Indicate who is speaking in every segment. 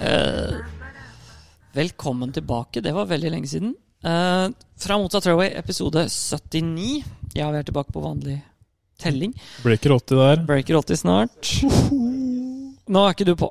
Speaker 1: Eh, velkommen tilbake. Det var veldig lenge siden. Eh, fra Motsatt Railway, episode 79. Ja, vi er tilbake på vanlig telling.
Speaker 2: Breaker 80 der.
Speaker 1: Breaker 80 snart. Nå er ikke du på.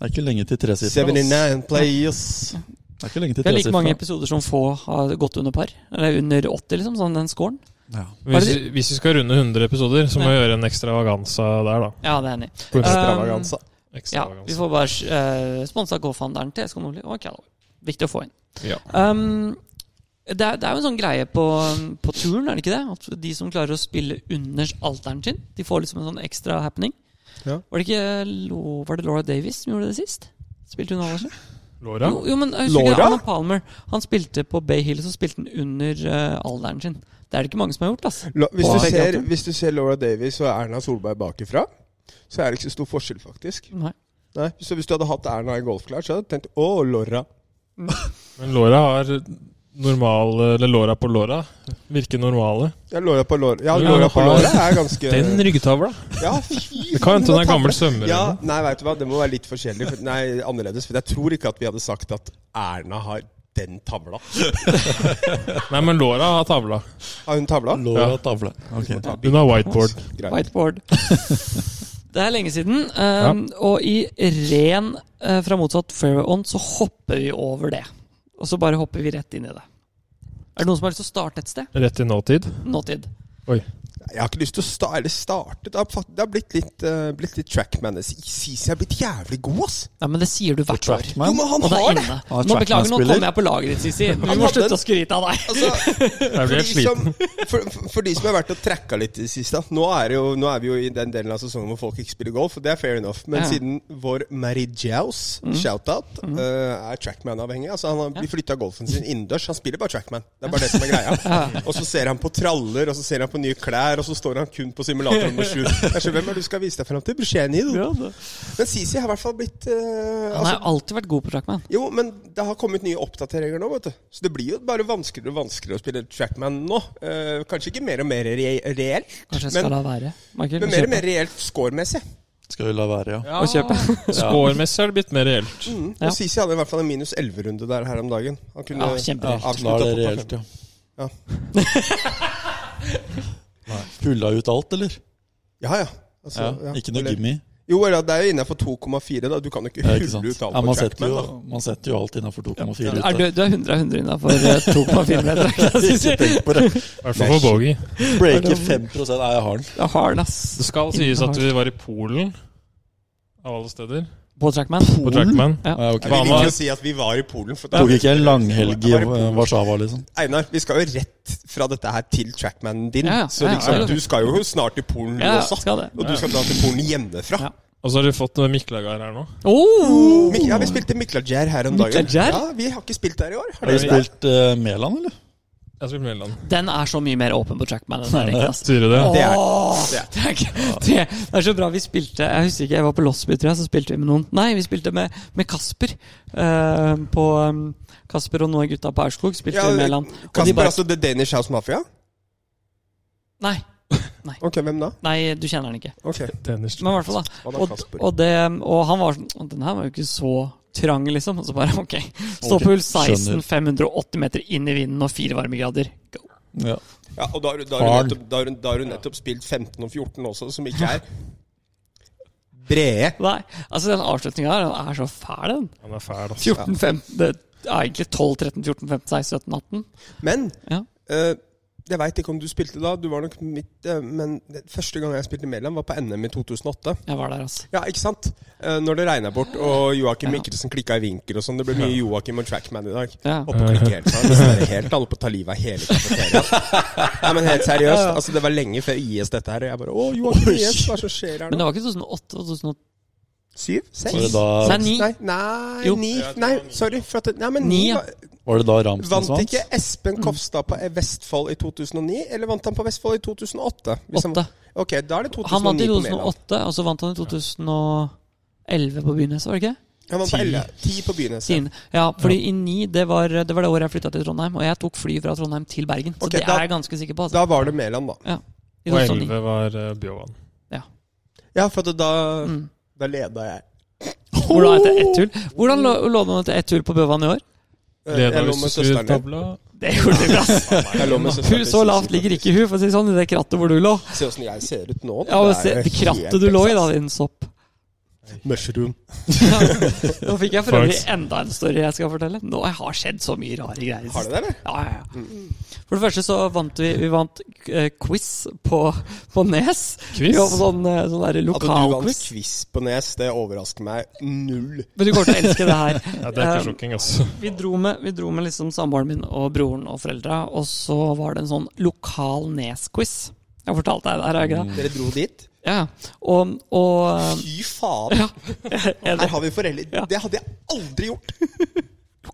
Speaker 3: Det er ikke lenge til tresifra. ass.
Speaker 4: 79 players.
Speaker 3: Det er ikke lenge til
Speaker 1: Det er like
Speaker 3: tresifra.
Speaker 1: mange episoder som få har gått under par. Eller under 80, liksom. Sånn den scoren.
Speaker 3: Ja.
Speaker 2: Hvis,
Speaker 1: Hva er
Speaker 2: hvis vi skal runde 100 episoder, så må vi gjøre en ekstravaganza der, da.
Speaker 1: Ja, det er enig. Eh,
Speaker 4: Extravaganza.
Speaker 1: Ja, vi
Speaker 2: Ekstravaganza.
Speaker 1: får bare uh, sponsa GoFunderen til Esko Nordli og Callaway. Viktig å få inn.
Speaker 2: Ja.
Speaker 1: Um, det, er, det er jo en sånn greie på, på turen, er det ikke det? At de som klarer å spille under alteren sin, de får liksom en sånn ekstra happening.
Speaker 4: Ja.
Speaker 1: Var det ikke Lo- var det Laura Davis som gjorde det sist? Spilte hun Aldersen?
Speaker 2: Laura?
Speaker 1: Jo, jo, men jeg husker ikke,
Speaker 4: Laura?
Speaker 1: Anna Palmer. Han spilte på Bay Hill, så spilte han under eh, alderen sin. Det er det ikke mange som har gjort, ass.
Speaker 4: La- Hvis,
Speaker 1: Wow.
Speaker 4: du ser,
Speaker 1: Begge
Speaker 4: hvis du ser Laura Davies og Erna Solberg bakifra, så er det ikke så stor forskjell, faktisk.
Speaker 1: Nei.
Speaker 4: Nei, Så hvis du hadde hatt Erna i golfklær, så hadde du tenkt å, Laura.
Speaker 2: Men Laura har normale Eller Laura på Laura. Virker normale.
Speaker 4: Ja, Laura på Laura. Ja,
Speaker 2: Ja,
Speaker 4: Laura på
Speaker 2: Laura.
Speaker 4: Laura er ganske
Speaker 2: ryggetavla!
Speaker 4: Ja, fy
Speaker 2: Det kan hende hun er
Speaker 4: faen.
Speaker 2: gammel svømmer.
Speaker 4: Ja,
Speaker 2: eller noe.
Speaker 4: nei, vet du hva, det må være litt forskjellig. For, nei, annerledes. For jeg tror ikke at vi hadde sagt at Erna har den tavla.
Speaker 2: Nei, men Laura har tavla.
Speaker 4: Har hun tavla?
Speaker 3: Lå
Speaker 2: Ja.
Speaker 3: tavle. Ok.
Speaker 2: Hun har whiteboard.
Speaker 4: Greit.
Speaker 1: Whiteboard. Det er lenge siden. Um, Og i ren eh, fra motsatt fairway on så hopper vi over det. Og så bare hopper vi rett inn i det. Er det noen som har lyst til å starte et sted?
Speaker 2: Rett i nåtid.
Speaker 1: Nåtid.
Speaker 4: Jeg har ikke lyst til å sta eller starte. Det har, fakt- det har blitt litt, uh, blitt litt trackman. Season er blitt jævlig god, ass.
Speaker 1: Ja, men det sier du hvert år.
Speaker 4: Jo,
Speaker 3: Trackman.
Speaker 4: men han
Speaker 1: Og det er
Speaker 4: har det!
Speaker 1: inne. Nå
Speaker 3: Har
Speaker 1: beklager, nå
Speaker 3: Trackman-spiller.
Speaker 1: kommer jeg på laget ditt, Sisi. Vi må
Speaker 4: hadde
Speaker 1: slutte
Speaker 4: en-
Speaker 1: å skryte av deg.
Speaker 4: Altså,
Speaker 2: Jeg
Speaker 4: for,
Speaker 2: blir
Speaker 4: de
Speaker 2: helt sliten.
Speaker 4: som, for, for- for de som har vært og tracka litt i det siste da. nå er, det jo, nå er vi jo i den delen av sesongen hvor folk ikke spiller golf, og det er fair enough. Men
Speaker 1: Ja.
Speaker 4: siden vår Mary Jaus,
Speaker 2: Mm.
Speaker 4: shout-out, eh, er trackman-avhengig Altså Han har blitt flytta golfen sin innendørs. Han spiller bare trackman. Det er bare det som er greia. Og så ser han på traller, og så ser han på nye klær, og så står han kun på simulator nummer sju. Jeg skjønner, Hvem er det du skal vise deg fram til? Busceni, du. Men Sisi har i hvert fall blitt eh,
Speaker 1: Han
Speaker 4: altså,
Speaker 1: har alltid vært god på trackman.
Speaker 4: jo, men det har kommet nye oppdateringer nå, vet du. Så det blir jo bare vanskeligere og vanskeligere å spille Trackman nå. Eh, kanskje ikke mer og mer re reelt,
Speaker 1: Kanskje jeg skal
Speaker 4: men,
Speaker 1: la være. Michael,
Speaker 4: men mer og mer reelt scoremessig.
Speaker 3: Skal vi la være,
Speaker 1: å
Speaker 3: ja.
Speaker 1: kjøpe.
Speaker 2: Scoremessig er det blitt mer reelt.
Speaker 4: Mm.
Speaker 1: Ja.
Speaker 4: Og Sisi hadde i hvert fall en minus 11-runde der her om dagen. Han
Speaker 1: Ja,
Speaker 4: kunne
Speaker 1: kjempereelt.
Speaker 3: Da er
Speaker 4: avslutta
Speaker 3: det
Speaker 4: på
Speaker 3: reelt,
Speaker 4: par fem.
Speaker 3: ja.
Speaker 4: Ja.
Speaker 3: Pulla ut alt, eller?
Speaker 4: Ja, ja. Altså,
Speaker 3: Ja.
Speaker 4: ja.
Speaker 3: Ikke noe
Speaker 4: Eller-
Speaker 3: gimmie?
Speaker 4: Jo, ja, det er jo innafor 2,4, da. Du kan jo ikke
Speaker 3: Ja, ikke
Speaker 4: hulle
Speaker 3: sant?
Speaker 4: ut alt
Speaker 3: Ja, man,
Speaker 4: på
Speaker 3: setter
Speaker 4: Trackman.
Speaker 3: jo,
Speaker 4: Da.
Speaker 3: man setter jo alt innafor 2,4 ut.
Speaker 1: Er du, du er 100 av eh, 100 innafor 2,4 meter.
Speaker 3: Ikke
Speaker 1: Sisi.
Speaker 3: tenk på det.
Speaker 2: I hvert fall for bogey.
Speaker 3: Breaker 5 Nei, jeg har den.
Speaker 1: Det er hard, ass.
Speaker 2: Det skal sies at vi var i Polen, av alle steder,
Speaker 1: På trackman.
Speaker 2: på Trackman.
Speaker 3: Ja, ok.
Speaker 4: Vi
Speaker 2: Hva
Speaker 4: liker
Speaker 2: med-
Speaker 4: å si at vi var i Polen. For
Speaker 3: Tok ikke en langhelg i eh, Warszawa, liksom.
Speaker 4: Einar, vi skal jo rett fra dette her til trackmanen din.
Speaker 1: Ja, ja.
Speaker 4: Så
Speaker 1: Ja,
Speaker 4: liksom,
Speaker 1: ja, ja.
Speaker 4: du skal jo snart til Polen du
Speaker 1: Ja,
Speaker 4: også.
Speaker 1: skal det.
Speaker 4: Og du skal dra til Polen hjemmefra.
Speaker 1: Ja.
Speaker 2: Og så har du fått noen Miklagard her nå.
Speaker 1: Oh!
Speaker 4: Mik ja, vi spilte Miklajær her om dagen.
Speaker 1: Miklajær?
Speaker 4: Ja, Vi har ikke spilt der i år. Har
Speaker 3: Har
Speaker 4: dere
Speaker 3: du spilt eh, Mæland, eller?
Speaker 2: Jeg har spilt Melland.
Speaker 1: Den er så mye mer åpen på Trackman enn den ringen. ass.
Speaker 2: Sier du det?
Speaker 4: Det er-
Speaker 1: Åh,
Speaker 4: det er-
Speaker 1: det, er, ikke- det, det er så bra vi spilte Jeg husker ikke, jeg var på Losby, tror jeg, så spilte vi med noen. Nei, vi spilte med, med Kasper. eh, på um, Kasper og noen av gutta på Aurskog spilte
Speaker 4: Ja,
Speaker 1: vi med han.
Speaker 4: det?
Speaker 1: Og de
Speaker 4: Kasper,
Speaker 1: bare
Speaker 4: altså The Danish House Mafia?
Speaker 1: Nei,
Speaker 4: Ok, hvem da?
Speaker 1: nei, du kjenner han ikke.
Speaker 4: Ok,
Speaker 2: Dennis.
Speaker 1: Men i hvert fall, da.
Speaker 4: hva da,
Speaker 1: Og,
Speaker 4: Kasper?
Speaker 1: og, det, og han var sånn «Å, Den her var jo ikke så trang, liksom. Og så bare ok. Stå
Speaker 3: Ok,
Speaker 1: på hull 16,
Speaker 3: skjønner.
Speaker 1: 580 meter inn i vinden og fire varmegrader. Go.
Speaker 3: Ja.
Speaker 4: Ja, og da har du- da har
Speaker 3: Barn.
Speaker 4: du nettopp, da har du- da har du nettopp spilt 15 og 14 også, som ikke er brede.
Speaker 1: Nei, altså den avslutninga her, den er så fæl, den.
Speaker 2: Han er fæl, altså.
Speaker 1: 14, 15 Det er egentlig 12, 13, 14, 15, 16, 17, 18.
Speaker 4: Men
Speaker 1: Ja.
Speaker 4: eh, jeg veit ikke om du spilte da, du var nok midt eh, Men det- første gang jeg spilte Mæland, var på NM i 2008.
Speaker 1: Jeg var der, altså.
Speaker 4: Ja, ikke sant? Eh, Når det regna bort, og Joakim
Speaker 1: Ja.
Speaker 4: Mikkelsen klikka i vinkel og sånn. Det ble mye Joakim og Trackman i dag.
Speaker 1: Ja.
Speaker 4: Oppe og klikke helt sånn. Dessverre helt alle på ta livet av hele kafeteriaen. Nei, men helt seriøst. Altså, det var lenge før IS dette her. Og jeg bare Å, Joakim
Speaker 3: Oi.
Speaker 4: IS, hva er det som skjer her
Speaker 1: Men
Speaker 4: nå?
Speaker 1: det var ikke 2008 og 2009.
Speaker 4: Syv?
Speaker 3: Var det
Speaker 4: Seks?
Speaker 3: da,
Speaker 1: Nei, ni.
Speaker 4: Nei, nei,
Speaker 1: Jo.
Speaker 4: ni. Nei, sorry. For at, det- nei, men
Speaker 1: Ni,
Speaker 4: ni
Speaker 1: ja.
Speaker 4: var-
Speaker 3: var det da Ramsen
Speaker 4: Vant
Speaker 3: som vant?
Speaker 4: ikke Espen
Speaker 1: Mm.
Speaker 4: Kofstad på Vestfold i 2009, eller vant han på Vestfold i 2008? Hvis han-
Speaker 1: Åtte.
Speaker 4: Ok, da er det 2009
Speaker 1: Han vant i
Speaker 4: på Mæland.
Speaker 1: 2008, og så vant han i 2011 på Byneset, var det ikke?
Speaker 4: Han vant på
Speaker 3: Ti.
Speaker 4: 11, ti på Byneset.
Speaker 1: Siden. Ja, fordi i 9, det var det, var det året jeg flytta til Trondheim, og jeg tok fly fra Trondheim til Bergen. Så
Speaker 4: Ok,
Speaker 1: det
Speaker 4: da-
Speaker 1: er jeg ganske sikker på. Altså.
Speaker 4: Da var det Mæland, da.
Speaker 1: I
Speaker 2: Og
Speaker 1: 2009.
Speaker 2: 11 var uh, Bjåvann.
Speaker 4: Ja, for at da,
Speaker 1: Mm.
Speaker 4: da leda jeg.
Speaker 1: Hvor da etter ett hull. Hvordan lå, lå det an etter ett hull på Bøvann i år?
Speaker 4: Eh, jeg
Speaker 2: Lena
Speaker 4: lå med søsteren din.
Speaker 2: Østerud-tavla.
Speaker 1: Det gjorde du, ass.
Speaker 4: Jeg lå med søsteren
Speaker 1: Hun så
Speaker 4: din.
Speaker 1: lavt ligger ikke hun, for å si det sånn, i det krattet hvor du lå.
Speaker 4: Se åssen jeg ser ut nå.
Speaker 1: Ja, men se, Det krattet du lå i, da, din sopp.
Speaker 4: Mushroom.
Speaker 1: Nå fikk jeg for øvrig
Speaker 2: Facts.
Speaker 1: enda en story jeg skal fortelle. Nå har skjedd så mye rare greier.
Speaker 4: Har du det, Mm. eller?
Speaker 1: Ja, ja, ja. For det første så vant vi Vi vant eh, quiz på, på Nes. Vi
Speaker 2: Quiz?
Speaker 1: var på sånn, eh, sånn der
Speaker 4: At du
Speaker 1: lokalquiz.
Speaker 4: vant quiz på Nes, det overrasker meg null.
Speaker 1: Men du kommer til å elske det her.
Speaker 2: Ja, det er
Speaker 1: Eh,
Speaker 2: ikke sjokking, altså.
Speaker 1: vi dro med, vi dro med liksom samboeren min og broren og foreldra, og så var det en sånn lokal Nes-quiz. Jeg fortalte deg det her, har jeg ikke det?
Speaker 4: Dere dro dit.
Speaker 1: Ja. Og, og eh,
Speaker 4: Fy faen! Her har vi foreldre.
Speaker 1: Ja.
Speaker 4: Det hadde jeg aldri gjort.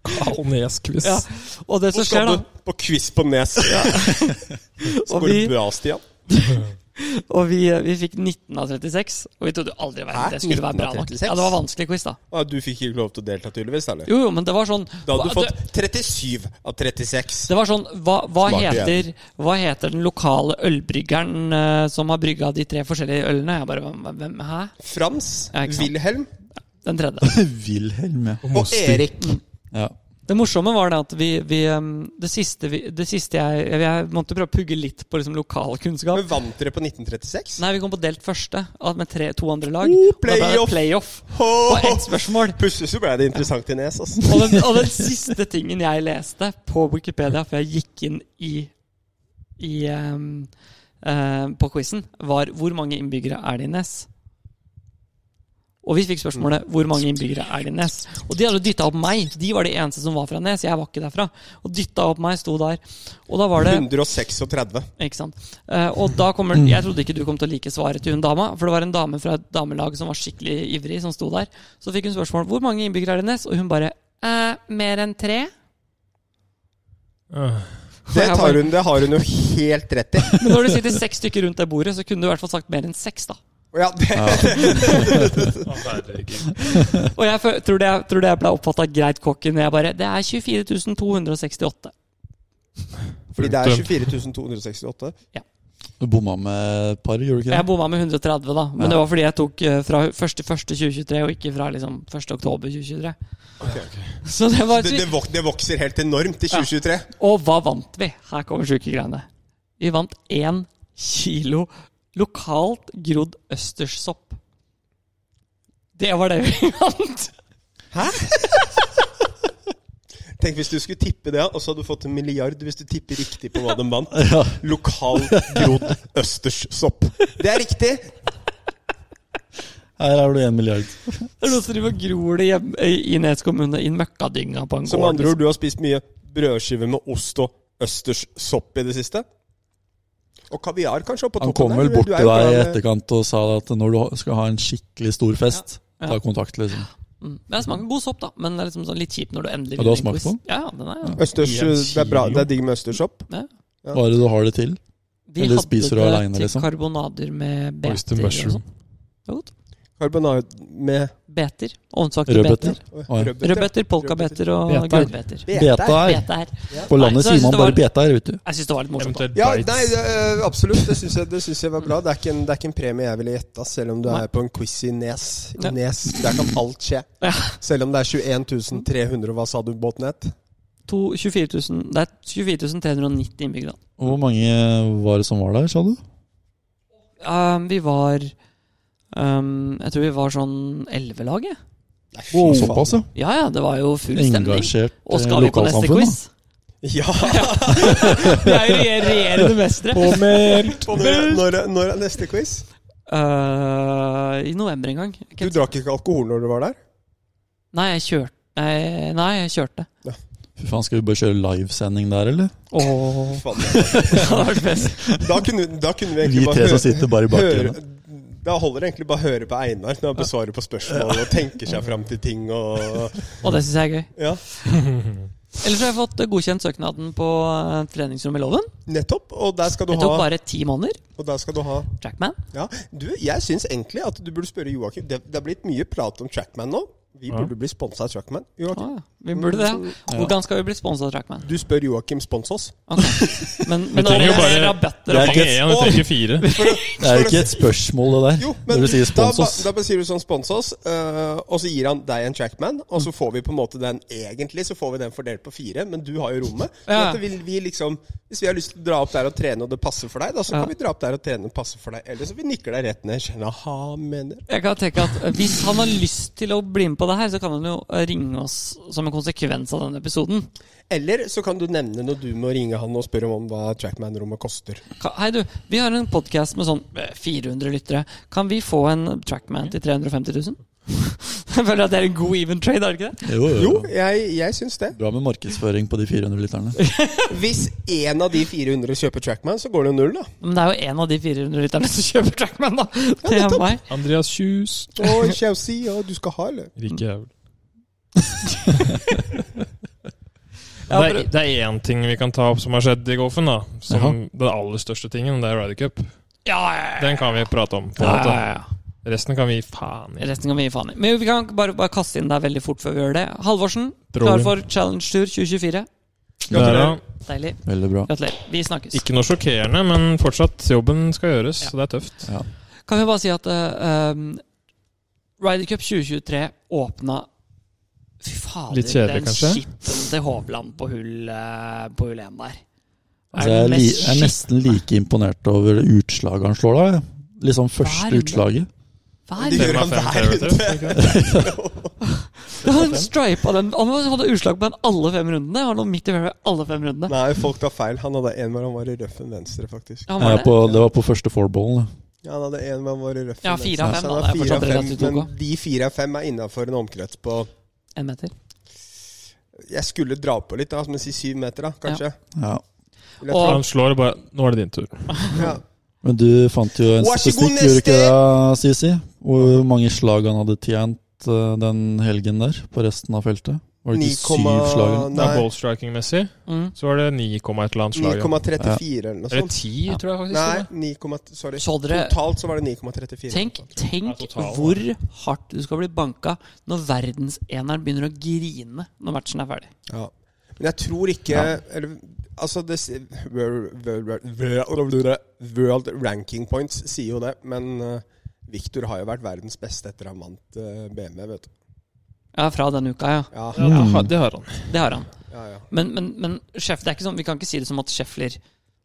Speaker 2: Kalnes-quiz.
Speaker 1: ja. Og det som
Speaker 4: Hvor
Speaker 1: skjer,
Speaker 4: skal
Speaker 1: da
Speaker 4: du? På quiz på Nes.
Speaker 1: Og
Speaker 4: Går
Speaker 1: vi,
Speaker 4: det bra, Stian?
Speaker 1: og vi, vi fikk 19 av 36, og vi trodde jo aldri i verden
Speaker 4: Hæ?
Speaker 1: det skulle være
Speaker 4: 19
Speaker 1: bra
Speaker 4: av
Speaker 1: nok.
Speaker 4: 36?
Speaker 1: Ja, Det var vanskelig quiz, da.
Speaker 4: Ah, du fikk ikke lov til å delta, tydeligvis? Eller?
Speaker 1: Jo, jo, men det var sånn
Speaker 4: Da hadde
Speaker 1: hva-
Speaker 4: du fått 37 av 36.
Speaker 1: Det var sånn, hva, hva,
Speaker 4: Smart
Speaker 1: heter, hva heter den lokale ølbryggeren eh, som har brygga de tre forskjellige ølene? Jeg bare, hvem, hvem, hæ?
Speaker 4: Frans,
Speaker 1: Ja, ikke sant.
Speaker 4: Wilhelm
Speaker 1: Den tredje.
Speaker 3: Wilhelm, ja.
Speaker 4: og Erik.
Speaker 3: ja.
Speaker 1: Det morsomme var det at vi, vi em, Det siste, vi, det siste jeg, jeg Jeg måtte prøve å pugge litt på liksom lokalkunnskap.
Speaker 4: Men vant dere på 1936?
Speaker 1: Nei, vi kom på delt første av- med tre, to andre lag. Og
Speaker 4: Oh,
Speaker 1: da ble det
Speaker 4: playoff!
Speaker 1: playoff
Speaker 4: Ho,
Speaker 1: på ett spørsmål.
Speaker 4: Plutselig så ble det interessant i Nes. Altså.
Speaker 1: Og den, og den siste tingen jeg leste på Wikipedia før jeg gikk inn i, i em, em, på quizen, var hvor mange innbyggere er det i Nes? Og vi fikk spørsmålet hvor mange innbyggere er det i Nes. Og de hadde dytta opp meg. De var de eneste som var fra Nes. Jeg var ikke derfra. Og dytta opp meg, sto der. Og da var det
Speaker 4: 136.
Speaker 1: Ikke sant. Eh, og da kommer Jeg trodde ikke du kom til å like svaret til hun dama, for det var en dame fra et damelag som var skikkelig ivrig, som sto der. Så fikk hun spørsmål hvor mange innbyggere er det i Nes, og hun bare eh, mer enn tre.
Speaker 2: Ah.
Speaker 4: Det, tar hun, det har hun jo helt rett i.
Speaker 1: Men når du sitter seks stykker rundt det bordet, så kunne du i hvert fall sagt mer enn seks, da.
Speaker 4: Og Ja, det,
Speaker 1: Og jeg fø- tror det, jeg- tror det jeg ble oppfatta greit cocky når jeg bare Det er 24 268.
Speaker 4: fordi det er 24 268.
Speaker 3: Du bomma med et par, gjorde du ikke
Speaker 1: Jeg
Speaker 3: det?
Speaker 1: bomma med 130, da. Men
Speaker 3: Ja.
Speaker 1: det var fordi jeg tok eh, fra 1.1.2023 og ikke fra liksom 1.10.2023. Så det var
Speaker 4: Det, det, vok det vokser helt enormt i 2023.
Speaker 1: Og hva vant vi? Her kommer sjuke greiene. Vi vant én kilo lokalt grodd østerssopp. Det var det vi vant!
Speaker 4: Tenk hvis du skulle tippe det, og så hadde du fått en milliard hvis du tipper riktig på hva de vant.
Speaker 3: Ja.
Speaker 4: Lokal grodd østerssopp. Det er riktig!
Speaker 3: Her er du én milliard.
Speaker 1: Det er noen som driver og gror det hjemme i Nes kommune, i møkkadynga på en
Speaker 4: Som
Speaker 1: gård.
Speaker 4: med
Speaker 1: liksom.
Speaker 4: andre ord, du har spist mye brødskiver med ost og østerssopp i det siste. Og kaviar kanskje opp på
Speaker 3: Han
Speaker 4: toppen
Speaker 3: kom vel
Speaker 4: der,
Speaker 3: bort
Speaker 4: du er
Speaker 3: til deg i
Speaker 4: glad-
Speaker 3: etterkant og sa at når du skal ha en skikkelig stor fest, ta kontakt, liksom.
Speaker 1: Mm. Det smaker god sopp, da, men det er liksom sånn litt kjipt når du endelig
Speaker 3: Ja, du har
Speaker 1: vinner en
Speaker 3: smakt
Speaker 1: quiz.
Speaker 3: på den?
Speaker 1: Ja, ja, den er jo
Speaker 4: Østers, eh,
Speaker 2: I en
Speaker 4: det er bra,
Speaker 2: kilo.
Speaker 4: det er digg med østerssopp.
Speaker 1: ja.
Speaker 4: Ja.
Speaker 3: Bare du har det til.
Speaker 1: De
Speaker 3: Eller spiser du
Speaker 1: hadde det
Speaker 3: alene,
Speaker 1: til
Speaker 3: liksom?
Speaker 1: karbonader med
Speaker 2: Oyster
Speaker 1: beter. Og
Speaker 2: mushroom.
Speaker 1: sånn. Det var godt.
Speaker 4: Karbonad med
Speaker 1: beter. Ovnsvakte
Speaker 3: Rødbeter.
Speaker 1: beter.
Speaker 4: Oi,
Speaker 3: Oi.
Speaker 4: rødbeter.
Speaker 1: Rødbeter, polkabeter og
Speaker 2: Beter.
Speaker 1: gulrøtter.
Speaker 4: Bete.
Speaker 3: Beta her.
Speaker 1: Beter.
Speaker 3: På
Speaker 1: Nei, så jeg
Speaker 3: landet sier
Speaker 1: synes
Speaker 3: man
Speaker 1: det var-
Speaker 3: bare beta her, vet du.
Speaker 1: Jeg syns det var litt morsomt. da.
Speaker 2: Eventuelt
Speaker 4: Ja, nei,
Speaker 2: Bites.
Speaker 4: det, ø, absolutt. Det syns jeg, det synes jeg var bra. Det er, ikke en, det er ikke en premie jeg ville gjetta, selv om du
Speaker 1: Nei.
Speaker 4: er på en quiz i Nes. I
Speaker 1: Ja.
Speaker 4: Nes, Der kan alt skje.
Speaker 1: Ja.
Speaker 4: Selv om det er 21 300, hva sa du, båten het?
Speaker 1: to, 24 000, det er 24 390 innbyggere. da.
Speaker 3: Og Hvor mange var det som var der, sa du?
Speaker 1: Um, vi var um, Jeg tror vi var sånn elleve lag, jeg.
Speaker 3: Wow, såpass, ja.
Speaker 1: Ja ja, det var jo full stemning.
Speaker 3: Engasjert
Speaker 1: Og
Speaker 3: eh,
Speaker 1: skal vi på neste
Speaker 3: lokalsamfunn,
Speaker 1: quiz?
Speaker 4: Ja!
Speaker 1: Vi er jo re- regjerende mestere.
Speaker 2: Påmeldt!
Speaker 4: Når, når, når er neste quiz?
Speaker 1: Uh, I november en gang.
Speaker 4: Du drakk ikke alkohol når du var der?
Speaker 1: Nei, jeg kjørte. Nei, nei, jeg kjørte.
Speaker 3: da. Fy faen, skal vi bare kjøre livesending der, eller?
Speaker 1: Åh,
Speaker 4: Faen.
Speaker 1: det hadde vært best.
Speaker 4: Da kunne, da kunne vi
Speaker 3: Vi
Speaker 4: egentlig
Speaker 3: tre
Speaker 4: bare
Speaker 3: som
Speaker 4: hø-
Speaker 3: sitter bare i
Speaker 4: høre
Speaker 3: bakgrunnen.
Speaker 4: Da holder det egentlig bare å høre på Einar når han besvarer på spørsmål og tenker seg fram til ting og
Speaker 1: Og det syns jeg er gøy.
Speaker 4: Ja.
Speaker 1: Ellers har jeg fått godkjent søknaden på eh, treningsrommet i Loven.
Speaker 4: Nettopp. Og der skal du
Speaker 1: Det tok
Speaker 4: ha
Speaker 1: bare ti måneder.
Speaker 4: Og der skal du ha
Speaker 1: Trackman.
Speaker 4: Ja, du, jeg syns egentlig at du burde spørre Joakim. Det, det har blitt mye prat om Trackman nå. Vi burde bli sponsa av Trackman. Joakim.
Speaker 1: Ah, vi burde det. Hvordan skal vi bli sponsa av Trackman?
Speaker 4: Du spør Joakim spons oss.
Speaker 1: Ok. Men, men da
Speaker 2: trenger
Speaker 1: er det
Speaker 2: jo bare-
Speaker 1: rabatter
Speaker 2: Vi
Speaker 3: Det er
Speaker 1: og
Speaker 2: trenger
Speaker 3: ikke et-
Speaker 2: én, vi trenger fire.
Speaker 3: Det er jo ikke et spørsmål, det der.
Speaker 4: Jo, men
Speaker 3: når du sier
Speaker 4: da,
Speaker 3: spons
Speaker 4: ba-
Speaker 3: oss.
Speaker 4: da bare sier du sånn spons oss, eh, og så gir han deg en Trackman, og
Speaker 3: Mm.
Speaker 4: så får vi på en måte den egentlig, så får vi den fordelt på fire, men du har jo rommet. Så
Speaker 1: Ja.
Speaker 4: at vi, vi liksom, hvis vi har lyst til å dra opp der og trene, og det passer for deg, da, så
Speaker 1: Ja.
Speaker 4: kan vi dra opp der og trene og passe for deg. Eller så vi nikker deg rett ned. Skjønner ha, mener.
Speaker 1: Jeg kan tenke at eh, Hvis han har lyst til å bli med på det her, så kan han jo eh, ringe oss som en konsekvens av denne episoden.
Speaker 4: Eller så kan du nevne når du må ringe han og spørre om hva Trackman-rommet koster.
Speaker 1: Ka- Hei, du. Vi har en podkast med sånn eh, 400 lyttere. Kan vi få en Trackman til 350 000? Jeg føler at det er en god even trade, er det ikke det?
Speaker 3: Jo, jo,
Speaker 4: Jo,
Speaker 3: jo.
Speaker 4: jeg, jeg syns det.
Speaker 3: Bra med markedsføring på de 400 lytterne.
Speaker 4: Hvis én av de 400 kjøper Trackman, så går det jo null, da.
Speaker 1: Men det er jo en av de 400 lytterne som kjøper Trackman, da. Det er
Speaker 4: nettopp.
Speaker 1: meg.
Speaker 2: Andreas Kjus.
Speaker 4: Og Chelsea, ja, du skal ha, eller?
Speaker 2: Rik jævel.
Speaker 1: Ja,
Speaker 2: Det er,
Speaker 1: bare-
Speaker 2: det er én ting vi kan ta opp som har skjedd i golfen. da Som Den aller største tingen, det er Ryder Cup.
Speaker 1: Ja, ja, ja.
Speaker 2: Den kan vi prate om. på en
Speaker 1: ja,
Speaker 2: måte
Speaker 1: ja, ja.
Speaker 2: Resten kan vi faen i.
Speaker 1: Resten kan vi gi faen i. Men vi kan bare, bare kaste inn der veldig fort før vi gjør det. Halvorsen, klar
Speaker 2: Drawing.
Speaker 1: for Challenge Tour 2024.
Speaker 2: Der, ja.
Speaker 1: Deilig.
Speaker 3: Veldig bra.
Speaker 1: Gratulerer. Vi snakkes.
Speaker 2: Ikke noe sjokkerende, men fortsatt, jobben skal gjøres. Så det er tøft.
Speaker 3: Ja.
Speaker 1: Kan vi bare si at eh, um, Ryder Cup 2023 åpna Fy fader,
Speaker 2: Litt kjedelig,
Speaker 1: den
Speaker 2: kanskje?
Speaker 1: skitten til Hovland på hull eh, På hull 1 der.
Speaker 3: Altså, jeg, er li, jeg er nesten like imponert over utslaget han slår da. jeg. Liksom første
Speaker 1: Hver-
Speaker 3: utslaget.
Speaker 1: Hver
Speaker 4: Det
Speaker 1: runde.
Speaker 4: gjør han hver
Speaker 1: Han stripa den. Han hadde utslag på den alle fem rundene. Han lå midt i fairway alle fem rundene.
Speaker 4: Nei, folk tar feil. Han hadde en hvor han var i røffen venstre, faktisk.
Speaker 1: Han
Speaker 3: Jeg
Speaker 1: var
Speaker 3: er
Speaker 1: det.
Speaker 3: på, det var på første fourballen. da.
Speaker 4: Ja, han hadde en hvor han var i røffen
Speaker 1: Ja,
Speaker 4: venstre.
Speaker 1: fire av fem,
Speaker 4: Så
Speaker 1: da.
Speaker 4: han
Speaker 1: Det er
Speaker 4: var fire av
Speaker 1: fortsatt
Speaker 4: fem,
Speaker 1: relativt ok.
Speaker 4: Men de fire av fem er innafor en omkrets på
Speaker 1: En meter.
Speaker 4: Jeg skulle dra på litt, da, men si syv meter, da, kanskje.
Speaker 3: Ja.
Speaker 4: Vil jeg
Speaker 1: Og-
Speaker 4: tro.
Speaker 2: Han slår bare Nå er det din tur.
Speaker 4: Ja.
Speaker 3: Men du fant jo en
Speaker 4: Vær så
Speaker 3: statistikk, gjorde
Speaker 4: god,
Speaker 3: du ikke
Speaker 4: neste!
Speaker 3: det, Sisi? Hvor mange slag han hadde tjent eh, den helgen der, på resten av feltet? Var det ikke
Speaker 4: 9,9
Speaker 3: syv slag?
Speaker 2: Det er Ballstriking-messig
Speaker 1: Mm.
Speaker 2: så var det 9, et eller annet slag. ja.
Speaker 4: 9,34 eller noe
Speaker 2: Eller
Speaker 4: sånt.
Speaker 2: 10, tror jeg faktisk.
Speaker 4: Nei,
Speaker 2: det var.
Speaker 4: 9, sorry.
Speaker 1: liksom, Så dere-
Speaker 4: Totalt så var det 9,34.
Speaker 1: Tenk, tenk
Speaker 2: Ja, total,
Speaker 1: hvor hardt du skal bli banka når verdenseneren begynner å grine når matchen er ferdig.
Speaker 4: Ja. Men jeg tror ikke eller, Altså, det, si- world, world, world, world ranking points sier jo det, men eh, Victor har jo vært verdens beste etter han vant eh, BMW, vet du.
Speaker 1: Ja, fra denne uka, ja.
Speaker 4: Ja,
Speaker 3: Mm.
Speaker 2: Ja, det har- det har han.
Speaker 1: Det har han.
Speaker 4: ja, ja.
Speaker 1: Men, men, men Schäff- det er ikke sånn, vi kan ikke si det som at Scheffler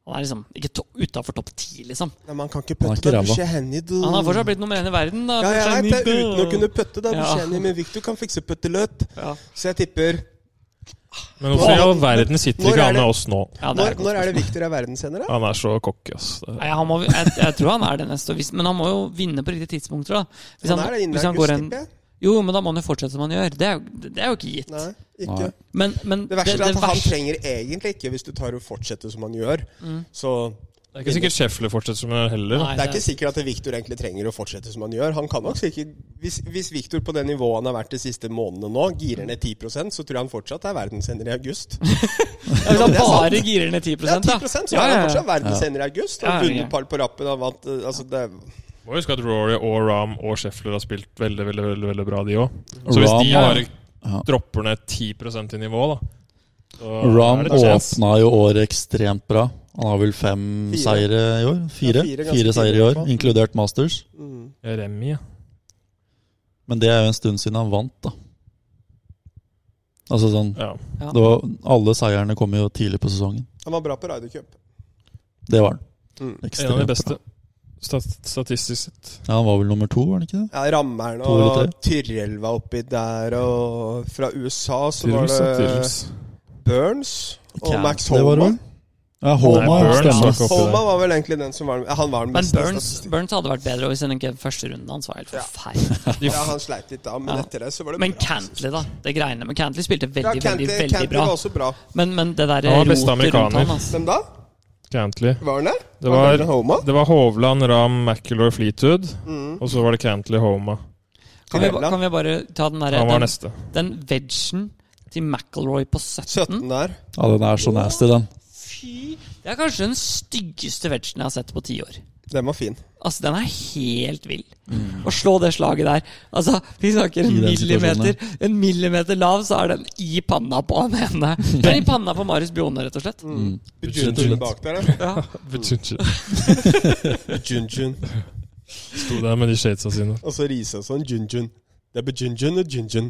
Speaker 1: Han er liksom ikke to, utafor topp ti, liksom.
Speaker 4: Nei, man kan ikke
Speaker 3: Han er ikke
Speaker 4: putte det
Speaker 3: ræva.
Speaker 1: Han har fortsatt blitt nummer én i verden. Da,
Speaker 4: ja, jeg
Speaker 1: Buchanan.
Speaker 4: vet det, uten å kunne putte det.
Speaker 1: Ja.
Speaker 4: Buchanan, Men Victor kan fikse putteløt.
Speaker 1: Ja.
Speaker 4: Så jeg tipper
Speaker 2: Men hvorfor i all verden sitter
Speaker 4: Når er
Speaker 2: ikke han
Speaker 4: det-
Speaker 2: med oss nå?
Speaker 1: Ja, det er
Speaker 4: Når,
Speaker 1: et godt
Speaker 4: når er det Victor er verdensener, da?
Speaker 2: Han er så cocky, ass. Det-
Speaker 1: Nei, han må, jeg, jeg tror han er det neste, og hvis- men han må jo vinne på riktige tidspunkter. da Hvis
Speaker 4: Han er det innen
Speaker 1: hvis han går
Speaker 4: august,
Speaker 1: en-
Speaker 4: tipper jeg.
Speaker 1: Jo, men da må han jo fortsette som han gjør. Det er jo, det er jo ikke gitt.
Speaker 4: Nei,
Speaker 3: Nei.
Speaker 4: ikke.
Speaker 1: Men, men
Speaker 4: Det verste
Speaker 1: det
Speaker 4: er at han
Speaker 1: verste- Mm.
Speaker 4: trenger egentlig ikke, hvis du tar og fortsetter som han gjør. Så
Speaker 2: Det er ikke sikkert Scheffler fortsetter som han heller. da.
Speaker 1: Nei,
Speaker 4: Det er ikke sikkert at Victor egentlig trenger å fortsette som han gjør. Han kan nok sikkert, Hvis, hvis Victor på det nivået han har vært de siste månedene nå, girer ned 10 så tror jeg han fortsatt er verdensender i august.
Speaker 1: Ja, Hvis han
Speaker 4: det er sant.
Speaker 1: bare girer ned 10
Speaker 4: Ja, 10
Speaker 1: da.
Speaker 4: så
Speaker 1: Ja, ja,
Speaker 4: er
Speaker 1: ja.
Speaker 4: han fortsatt verdensender i august.
Speaker 1: Ja,
Speaker 4: Har
Speaker 1: ja, ja.
Speaker 4: vunnet par på rappen og vant eh, altså det,
Speaker 2: Må huske at Rory og Ram og Scheffler har spilt veldig veldig, veldig, veldig bra, de òg.
Speaker 3: Rahm-
Speaker 2: Så hvis de bare
Speaker 3: Ja.
Speaker 2: dropper ned 10 i nivå, da så
Speaker 3: Ram
Speaker 2: er det chance.
Speaker 3: åpna jo året ekstremt bra. Han har vel fem
Speaker 4: Fire.
Speaker 3: seire i år? Fire,
Speaker 4: Ja,
Speaker 3: fire,
Speaker 4: fire ganske
Speaker 3: seire i
Speaker 4: tidlig i
Speaker 3: år,
Speaker 4: hvert fall.
Speaker 3: inkludert Masters.
Speaker 4: mm.
Speaker 2: Remi, ja.
Speaker 3: Men det er jo en stund siden han vant, da. Altså sånn
Speaker 2: ja.
Speaker 3: det var, Alle seierne kom jo tidlig på sesongen.
Speaker 4: Han var bra på Ryder Cup.
Speaker 3: Det var han.
Speaker 4: Mm.
Speaker 2: En av de
Speaker 3: bra.
Speaker 2: beste. Stat statistisk sett.
Speaker 3: Ja, han var vel nummer to, var han ikke det?
Speaker 4: Ja, Rammeren
Speaker 3: To eller
Speaker 4: og Tyrrell var oppi der, og fra USA så var
Speaker 2: Tyrils, ja,
Speaker 4: det
Speaker 2: Tyrils.
Speaker 4: Burns og
Speaker 3: Cam-
Speaker 4: Max
Speaker 3: det var det
Speaker 4: Holma.
Speaker 3: vel? Ja, Holma,
Speaker 2: Nei,
Speaker 3: ja,
Speaker 2: Burns var ikke oppe
Speaker 3: stemmer.
Speaker 2: der.
Speaker 4: Holma var vel egentlig den som var ja, Han var den
Speaker 1: Men
Speaker 4: beste.
Speaker 1: Burns, Burns hadde vært bedre hvis den ikke første runden hans var helt
Speaker 4: Ja.
Speaker 1: forferdelig.
Speaker 4: Ja, han sleit litt da, men
Speaker 1: Ja.
Speaker 4: etter det så var det
Speaker 1: Men
Speaker 4: bra.
Speaker 1: Cantley, da. Det greiene Men Cantley spilte veldig,
Speaker 4: Ja, Cantley,
Speaker 1: veldig veldig
Speaker 4: Cantley
Speaker 1: bra.
Speaker 4: var også bra.
Speaker 1: Men, men det der
Speaker 2: Han var
Speaker 1: rotet
Speaker 2: beste
Speaker 1: rundt
Speaker 2: amerikaner.
Speaker 1: han altså.
Speaker 4: Hvem da?
Speaker 2: Cantley.
Speaker 4: Var han der?
Speaker 2: Det
Speaker 4: han
Speaker 2: var,
Speaker 4: der Homa? Mm.
Speaker 2: det var Hovland, Ram, McIlroy, Fleetwood. Og så var det Cantley, Homa.
Speaker 1: kan, vi,
Speaker 4: Tyrella.
Speaker 1: kan vi bare ta den derre
Speaker 2: Han var
Speaker 1: Den,
Speaker 2: neste.
Speaker 1: den vegen til McIlroy på 17?
Speaker 4: 17 der.
Speaker 3: Ja, den er så nasty, den.
Speaker 1: Fy! Det er kanskje den styggeste vegen jeg har sett på ti år.
Speaker 4: Den var fin.
Speaker 1: Altså, den er helt vill.
Speaker 2: Mm.
Speaker 1: Å slå det slaget der Altså, vi snakker en
Speaker 3: I den
Speaker 1: millimeter
Speaker 3: situasjonen,
Speaker 1: En millimeter lav, så er den i panna på han ene. Den er i panna på Marius Bjone, rett og slett.
Speaker 3: Mm. Bujun-jun
Speaker 4: Bujun-jun Mm. bak der, da.
Speaker 1: Ja.
Speaker 2: Bujunji.
Speaker 4: Bujun-jun.
Speaker 2: Sto der med de shadesa sine.
Speaker 4: Og så Risa sånn Junjun. Det er Bujunjun og Junjun.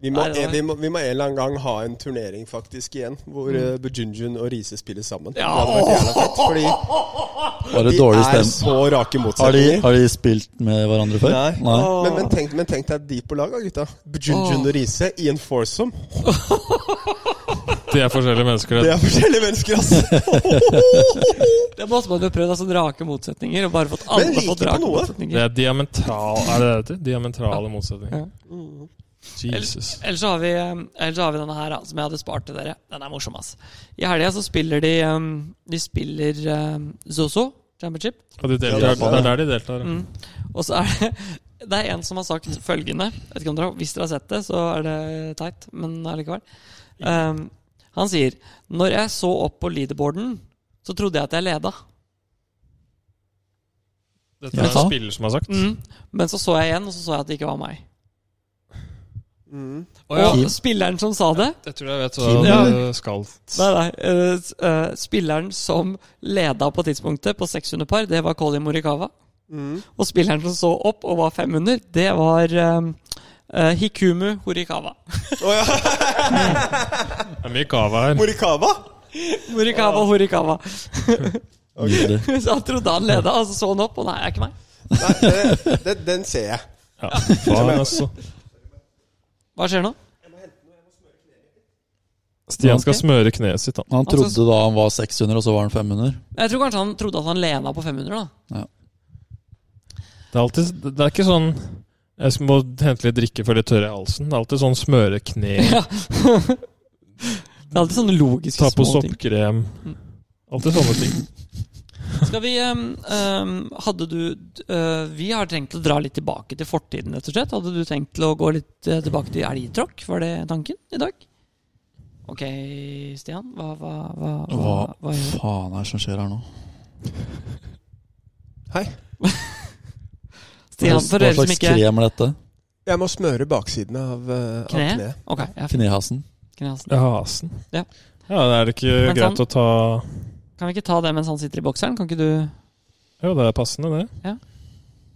Speaker 4: Vi må,
Speaker 1: Nei, det var-
Speaker 4: vi, må, vi må en eller annen gang ha en turnering faktisk igjen, hvor mm. Bujunjun og Riise spiller sammen.
Speaker 1: Ja.
Speaker 4: Det hadde vært jævla fett, fordi
Speaker 3: Bare
Speaker 4: de
Speaker 3: dårlig
Speaker 4: er
Speaker 3: stem.
Speaker 4: så rake
Speaker 3: Har de,
Speaker 4: motsetninger.
Speaker 3: har de spilt med hverandre før?
Speaker 4: Nei.
Speaker 3: Nei.
Speaker 4: Men, men, tenk, men tenk deg de på lag, da, gutta. Bujunjun
Speaker 1: Åh.
Speaker 4: og Riise i en foursome.
Speaker 2: De er forskjellige mennesker.
Speaker 4: Det
Speaker 2: Det.
Speaker 4: er forskjellige mennesker, ass!
Speaker 1: Det måtte man jo prøvd, altså rake motsetninger, og bare fått
Speaker 4: Men
Speaker 1: alle
Speaker 4: liker
Speaker 1: fått
Speaker 4: på
Speaker 1: rake
Speaker 4: noe.
Speaker 2: det
Speaker 1: motsetninger.
Speaker 2: er diametral Er det det det heter? Diametrale motsetninger.
Speaker 1: Ja.
Speaker 2: Jesus.
Speaker 1: Ellers så har vi, eh, ellers så har vi denne her, da, som jeg hadde spart til dere. Den er morsom, ass. I helga så spiller de eh, De spiller eh, Zozo Championship.
Speaker 2: Og de
Speaker 4: Ja,
Speaker 2: deltar,
Speaker 4: det er
Speaker 2: det er der de deltar.
Speaker 1: Mm.
Speaker 2: ja.
Speaker 1: Og så er det Det er en som har sagt følgende Jeg vet ikke om dere, har- Hvis dere har sett det, så er det teit, men allikevel. Um, han sier Når jeg så opp på leaderboarden, så trodde jeg at jeg leda.
Speaker 2: Dette er
Speaker 3: Jaha.
Speaker 2: en spiller som har sagt.
Speaker 1: Mm. Men så så jeg igjen, og så så jeg at det ikke var meg.
Speaker 4: Mm.
Speaker 2: Å ja.
Speaker 1: Og spilleren som sa det
Speaker 2: Jeg tror jeg vet
Speaker 3: Kim,
Speaker 2: hva du skal
Speaker 1: Nei, nei. eh, s- eh, spilleren som leda på tidspunktet, på 600 par, det var Colin Morikawa.
Speaker 4: Mm.
Speaker 1: Og spilleren som så opp og var 500, det var um, eh, Hikumu Horikawa.
Speaker 4: Å ja.
Speaker 2: Det er mye kava her.
Speaker 4: Morikawa?
Speaker 1: Morikawa, Horikawa.
Speaker 3: Nydelig.
Speaker 1: Så han trodde han leda, og så så han opp, og nei, det er ikke meg.
Speaker 4: Nei, det, det, den ser jeg.
Speaker 2: Ja, faen, altså.
Speaker 1: Hva skjer nå?
Speaker 2: Stian skal smøre kneet sitt. Han.
Speaker 3: Han trodde da han var 600, og så var han 500.
Speaker 1: Jeg tror kanskje han trodde at han lena på 500, da.
Speaker 2: Det er alltid Det er ikke sånn Jeg skal- må hente litt drikke før det tørrer i halsen. Det er alltid sånn smøre kne,
Speaker 1: Ja. Det er alltid sånne logiske
Speaker 2: ta på
Speaker 1: små ting. Mm.
Speaker 2: soppkrem Alltid sånne ting.
Speaker 1: Skal vi ehm, ehm, Hadde du eh, Vi har tenkt å dra litt tilbake til fortiden, rett og slett. Hadde du tenkt til å gå litt eh, tilbake til elgtråkk? Var det tanken i dag? Ok, Stian. Hva Hva, hva, hva,
Speaker 3: Hva
Speaker 1: hva gjør du?
Speaker 3: faen er det som skjer her nå?
Speaker 4: Hei.
Speaker 1: Stian, for
Speaker 3: Hva
Speaker 1: dere som
Speaker 3: slags
Speaker 1: ikke
Speaker 3: krem er dette?
Speaker 4: Jeg må smøre baksiden av, eh, av
Speaker 1: Kne?
Speaker 4: kneet.
Speaker 1: Ok, ja,
Speaker 3: Knehasen?
Speaker 1: Knehasen.
Speaker 2: Ja, hasen.
Speaker 1: Ja.
Speaker 2: ja, er det ikke
Speaker 1: Men
Speaker 2: greit
Speaker 1: sånn-
Speaker 2: å ta
Speaker 1: Kan vi ikke ta det mens han sitter i bokseren? Kan ikke du
Speaker 2: Jo, det er passende, det.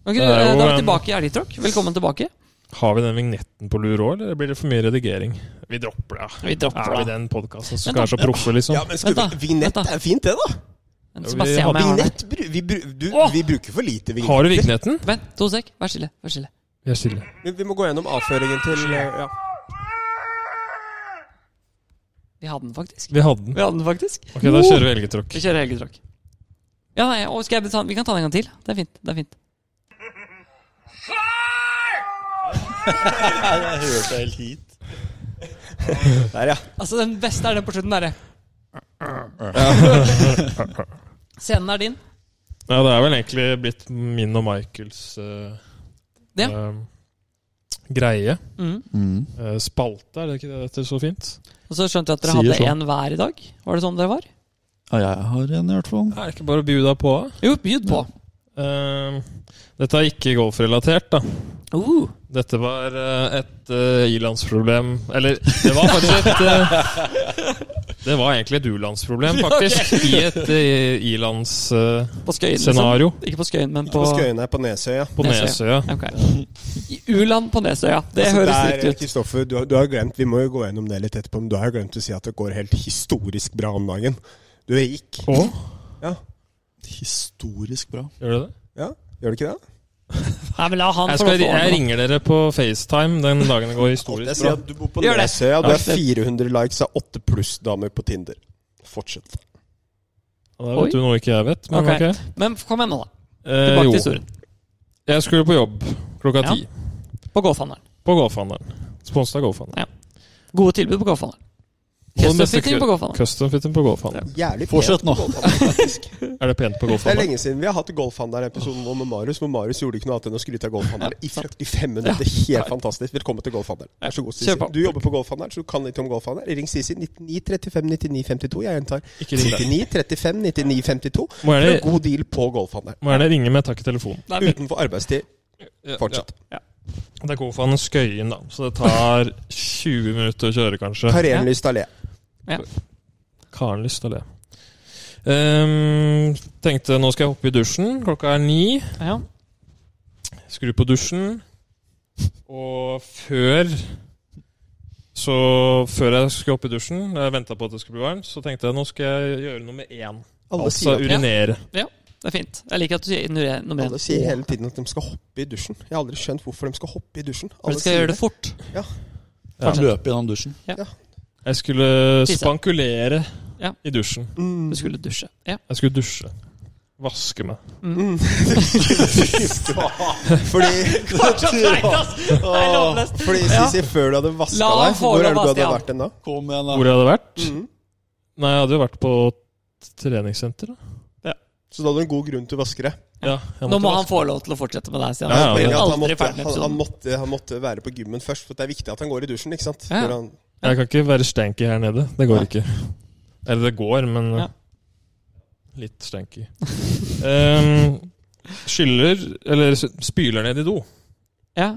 Speaker 1: Ok,
Speaker 2: Det er
Speaker 1: eh, Da
Speaker 2: jo
Speaker 1: er vi
Speaker 2: en-
Speaker 1: tilbake i Elgtråkk. Velkommen tilbake.
Speaker 2: Har vi den vignetten på lur òg, eller blir det for mye redigering? Vi dropper det. ja.
Speaker 1: Vi dropper
Speaker 2: Er vi
Speaker 1: det.
Speaker 2: den podkasten som
Speaker 1: Vent da.
Speaker 2: er så proffe, liksom?
Speaker 4: Ja, men skal
Speaker 1: Vent da,
Speaker 4: vi, vignett
Speaker 1: vent da.
Speaker 4: er fint, det, da.
Speaker 1: Men
Speaker 2: Ja,
Speaker 1: så bare
Speaker 2: vi
Speaker 1: se om
Speaker 2: hadde
Speaker 1: jeg har det.
Speaker 4: Vignett bru- vi, bru- du,
Speaker 1: Åh!
Speaker 4: vi bruker for lite vignett.
Speaker 2: Har du vignetten?
Speaker 1: Vent, to sek. Vær stille. Vær stille.
Speaker 2: Vi er stille.
Speaker 4: Vi, vi må gå gjennom avføringen til eh, ja.
Speaker 1: Vi hadde den faktisk.
Speaker 2: Vi hadde den.
Speaker 1: Vi hadde den faktisk.
Speaker 2: Ok, da kjører vi elgetråkk.
Speaker 1: Vi kjører helgetråkk. Ja, nei, og skal jeg ta, vi kan ta den en gang til. Det er fint. det er fint.
Speaker 3: Jeg hørte helt hit.
Speaker 4: Der, ja.
Speaker 1: Altså, Den beste er den på slutten, derre. Scenen er din.
Speaker 2: Ja, det er vel egentlig blitt min og Michaels eh,
Speaker 1: Ja.
Speaker 2: eh, greie.
Speaker 1: Mhm.
Speaker 3: Mm.
Speaker 2: Eh, spalte, er det ikke det dette er så fint?
Speaker 1: Og så skjønte vi at dere
Speaker 3: Sier
Speaker 1: hadde
Speaker 3: så.
Speaker 1: en hver i dag. Var det sånn dere var?
Speaker 3: Ja, jeg har en i hvert fall.
Speaker 2: Er det ikke bare å bjuda på?
Speaker 1: Jo, bjud på.
Speaker 2: Eh, dette er ikke golfrelatert, da.
Speaker 1: Uh,
Speaker 2: Dette var eh, et eh, ilandsproblem Eller, det var faktisk et eh, Det var egentlig et u-landsproblem, faktisk. I et eh, i-landsscenario
Speaker 1: på Skøyen. Liksom.
Speaker 2: scenario
Speaker 1: Ikke på Skøyen, men
Speaker 4: På
Speaker 1: på,
Speaker 4: Skøyene på Nesøya.
Speaker 2: på Nesøya.
Speaker 1: Ok. I U-land på Nesøya. Det
Speaker 4: Altså,
Speaker 1: høres
Speaker 4: der,
Speaker 1: riktig ut.
Speaker 4: Kristoffer, du, har- du har glemt Vi må jo gå gjennom det litt etterpå, men du har jo glemt å si at det går helt historisk bra om dagen. Du er rik.
Speaker 2: Å,
Speaker 4: Ja.
Speaker 3: Historisk bra.
Speaker 2: gjør det det?
Speaker 4: ja. Gjør du ikke det?
Speaker 1: Nei, men la han
Speaker 2: Jeg,
Speaker 1: få
Speaker 2: skal,
Speaker 1: lov til å
Speaker 2: jeg
Speaker 1: ordne det.
Speaker 2: ringer dere på FaceTime den dagen det går
Speaker 4: Jeg
Speaker 2: historisk
Speaker 4: sier
Speaker 2: bra.
Speaker 4: at du bor på
Speaker 1: Gjør det.
Speaker 4: Nesøya, du
Speaker 1: Ja.
Speaker 4: har 400 likes av 8 pluss-damer på Tinder. Fortsett.
Speaker 2: Ja, Det vet du noe ikke jeg vet, men
Speaker 1: Ok.
Speaker 2: ok.
Speaker 1: Men kom igjen nå, da.
Speaker 2: Eh,
Speaker 1: Tilbake til
Speaker 2: jo,
Speaker 1: historien.
Speaker 2: jeg skulle på jobb klokka
Speaker 1: Ja.
Speaker 2: ti.
Speaker 1: På Golfhandelen.
Speaker 2: På Golfhandelen. Sponset av Golfhandelen.
Speaker 1: Gode tilbud på Golfhandelen.
Speaker 2: Og neste
Speaker 1: Custom-fitting
Speaker 2: ku-
Speaker 1: på golfbanen.
Speaker 2: Custom fitting på golfbanen.
Speaker 4: Jævlig
Speaker 3: Fortsett nå.
Speaker 1: altså.
Speaker 4: Det
Speaker 2: Er det pent på
Speaker 4: er
Speaker 2: golfbanen?
Speaker 4: lenge siden vi har hatt Golfhandler-episoden vår med Marius. Hvor Marius gjorde ikke noe annet enn å skryte av Golfhandler i 45 minutter. Helt fantastisk. Velkommen til Golfhandler. Vær så god, Sisi.
Speaker 1: Kjør på.
Speaker 4: Du jobber på Golfhandler, så du kan litt om Golfhandler. Ring Sisi 99 35 99 52. Jeg gjentar
Speaker 2: Ikke ring der.
Speaker 4: 99 35 99 52.
Speaker 2: Må
Speaker 4: For
Speaker 2: gjerne,
Speaker 4: en god deal på Golfhandler.
Speaker 2: må gjerne ringe med takk i telefonen.
Speaker 1: Nei, men-
Speaker 4: Utenfor arbeidstid. Fortsett.
Speaker 2: Ja, det er golfbanen Skøyen, da. Så det tar 20 minutter å kjøre, kanskje.
Speaker 4: Karenlyst allé.
Speaker 2: Karen lyst til det. Ehm, tenkte nå skal jeg hoppe i dusjen. Klokka er ni.
Speaker 1: Ja.
Speaker 2: Skru på dusjen. Og før Så før jeg skulle opp i dusjen, jeg venta på at det skulle bli varmt, så tenkte jeg nå skal jeg gjøre nummer én.
Speaker 4: Alle
Speaker 2: Altså
Speaker 4: sier-
Speaker 2: urinere.
Speaker 1: Det er fint. Jeg liker at du sier nummer én.
Speaker 4: Alle sier hele tiden at de skal hoppe i dusjen. Jeg har aldri skjønt hvorfor de skal hoppe i dusjen.
Speaker 1: For
Speaker 4: Alle
Speaker 1: du skal gjøre
Speaker 4: sier
Speaker 1: det fort.
Speaker 2: Ja.
Speaker 3: Løpe gjennom dusjen.
Speaker 2: Jeg skulle
Speaker 1: Tisse.
Speaker 2: spankulere
Speaker 1: Ja.
Speaker 2: i dusjen.
Speaker 4: Mm.
Speaker 1: Du skulle dusje. Ja.
Speaker 2: Jeg skulle dusje. Vaske meg.
Speaker 4: Mm. Fordi altså, Fordi Sisi, før du hadde vaska
Speaker 1: La han
Speaker 4: deg,
Speaker 1: få
Speaker 4: hvor
Speaker 1: lov
Speaker 4: er
Speaker 1: å
Speaker 4: det du
Speaker 1: vaske
Speaker 4: hadde
Speaker 1: han.
Speaker 4: vært den da?
Speaker 3: Kom igjen,
Speaker 2: Hvor
Speaker 3: da.
Speaker 2: jeg hadde vært?
Speaker 1: Mm.
Speaker 2: Nei, jeg hadde jo vært på t- treningssenter. da.
Speaker 4: Så da hadde du en god grunn til å vaske deg.
Speaker 2: Ja, jeg
Speaker 1: Nå
Speaker 2: måtte
Speaker 1: må
Speaker 2: vaske.
Speaker 1: han få lov til å fortsette med deg, Stian.
Speaker 2: Ja, ja,
Speaker 1: Han blir
Speaker 4: Poenget er at han,
Speaker 1: aldri
Speaker 4: måtte,
Speaker 1: ferdig med
Speaker 4: han, han,
Speaker 1: episoden.
Speaker 4: måtte, han måtte være på gymmen først, for det er viktig at han går i dusjen. ikke sant?
Speaker 1: Ja.
Speaker 4: Når Han,
Speaker 2: Jeg kan ikke være stanky her nede. Det går ikke. Eller det går, men
Speaker 1: Ja.
Speaker 2: litt stanky. um, skyller Eller s- spyler ned i do.
Speaker 1: Ja.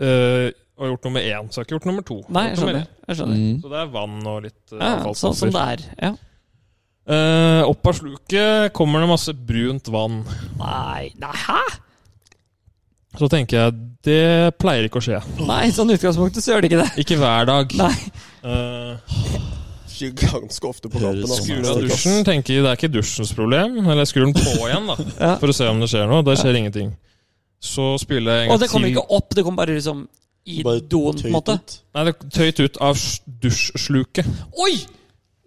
Speaker 2: Eh, og har gjort nummer én, så jeg har ikke gjort nummer to.
Speaker 1: Nei, jeg
Speaker 2: Gjort nummer
Speaker 1: skjønner. Jeg skjønner.
Speaker 3: Mm.
Speaker 2: én. Så det er vann og litt eh,
Speaker 1: Ja, sånn
Speaker 2: avfallsstoffer.
Speaker 1: som det er. Ja.
Speaker 2: Eh, opp av sluket kommer det masse brunt vann.
Speaker 1: Nei, nei, hæ?
Speaker 2: Så tenker jeg det pleier ikke å skje.
Speaker 1: Nei, sånn utgangspunktet så gjør det ikke det.
Speaker 2: Ikke hver dag.
Speaker 1: Nei.
Speaker 2: Eh,
Speaker 4: skjer ganske ofte på
Speaker 3: Høres
Speaker 4: kampen. altså.
Speaker 3: sånn
Speaker 2: Skrur av dusjen, tenker det er ikke dusjens problem. Eller jeg skrur den på igjen, da.
Speaker 1: Ja.
Speaker 2: For å se om det skjer noe. Det skjer ingenting. Så spyler jeg en
Speaker 1: Og det
Speaker 2: gang
Speaker 1: kommer
Speaker 2: til.
Speaker 1: ikke opp, det kommer bare liksom i
Speaker 3: Bare
Speaker 1: doen, på en
Speaker 3: tøyt
Speaker 1: måte.
Speaker 3: ut.
Speaker 2: Nei, det er tøyt ut av s- dusjsluket.
Speaker 1: Oi!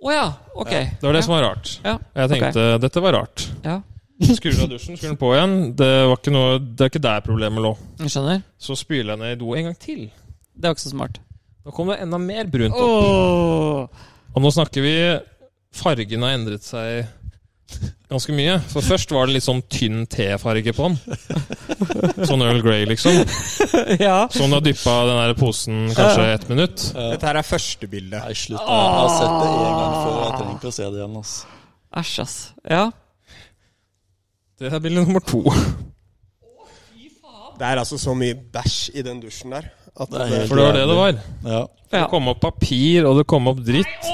Speaker 1: Å ja, ok.
Speaker 2: Det var det som var rart.
Speaker 1: Ja.
Speaker 2: Og Jeg tenkte dette var rart.
Speaker 1: Ja,
Speaker 2: Skrur av dusjen, skrur den på igjen. Det, var ikke noe, det er ikke der problemet lå.
Speaker 1: jeg skjønner.
Speaker 2: Så spyler jeg ned i do en gang til.
Speaker 1: Det var ikke så smart.
Speaker 2: Da kom det enda mer brunt opp.
Speaker 1: Åh.
Speaker 2: Og nå snakker vi Fargen har endret seg ganske mye. For først var det litt sånn tynn tefarge på den. Sånn Earl Grey, liksom.
Speaker 1: Ja.
Speaker 2: Som du har dyppa den der posen kanskje ett minutt.
Speaker 4: Dette her er første bildet.
Speaker 3: Nei, slutt. da. Jeg har sett det en gang før. Jeg trenger ikke å se det igjen. ass.
Speaker 1: Æsj, ass. Ja.
Speaker 2: Det er bilde nummer to.
Speaker 4: Det er altså så mye bæsj i den dusjen der. At
Speaker 3: Det er
Speaker 4: det,
Speaker 3: helt-
Speaker 2: For det var det det var.
Speaker 3: Ja.
Speaker 1: ja.
Speaker 2: Det kom opp papir, og det kom opp dritt.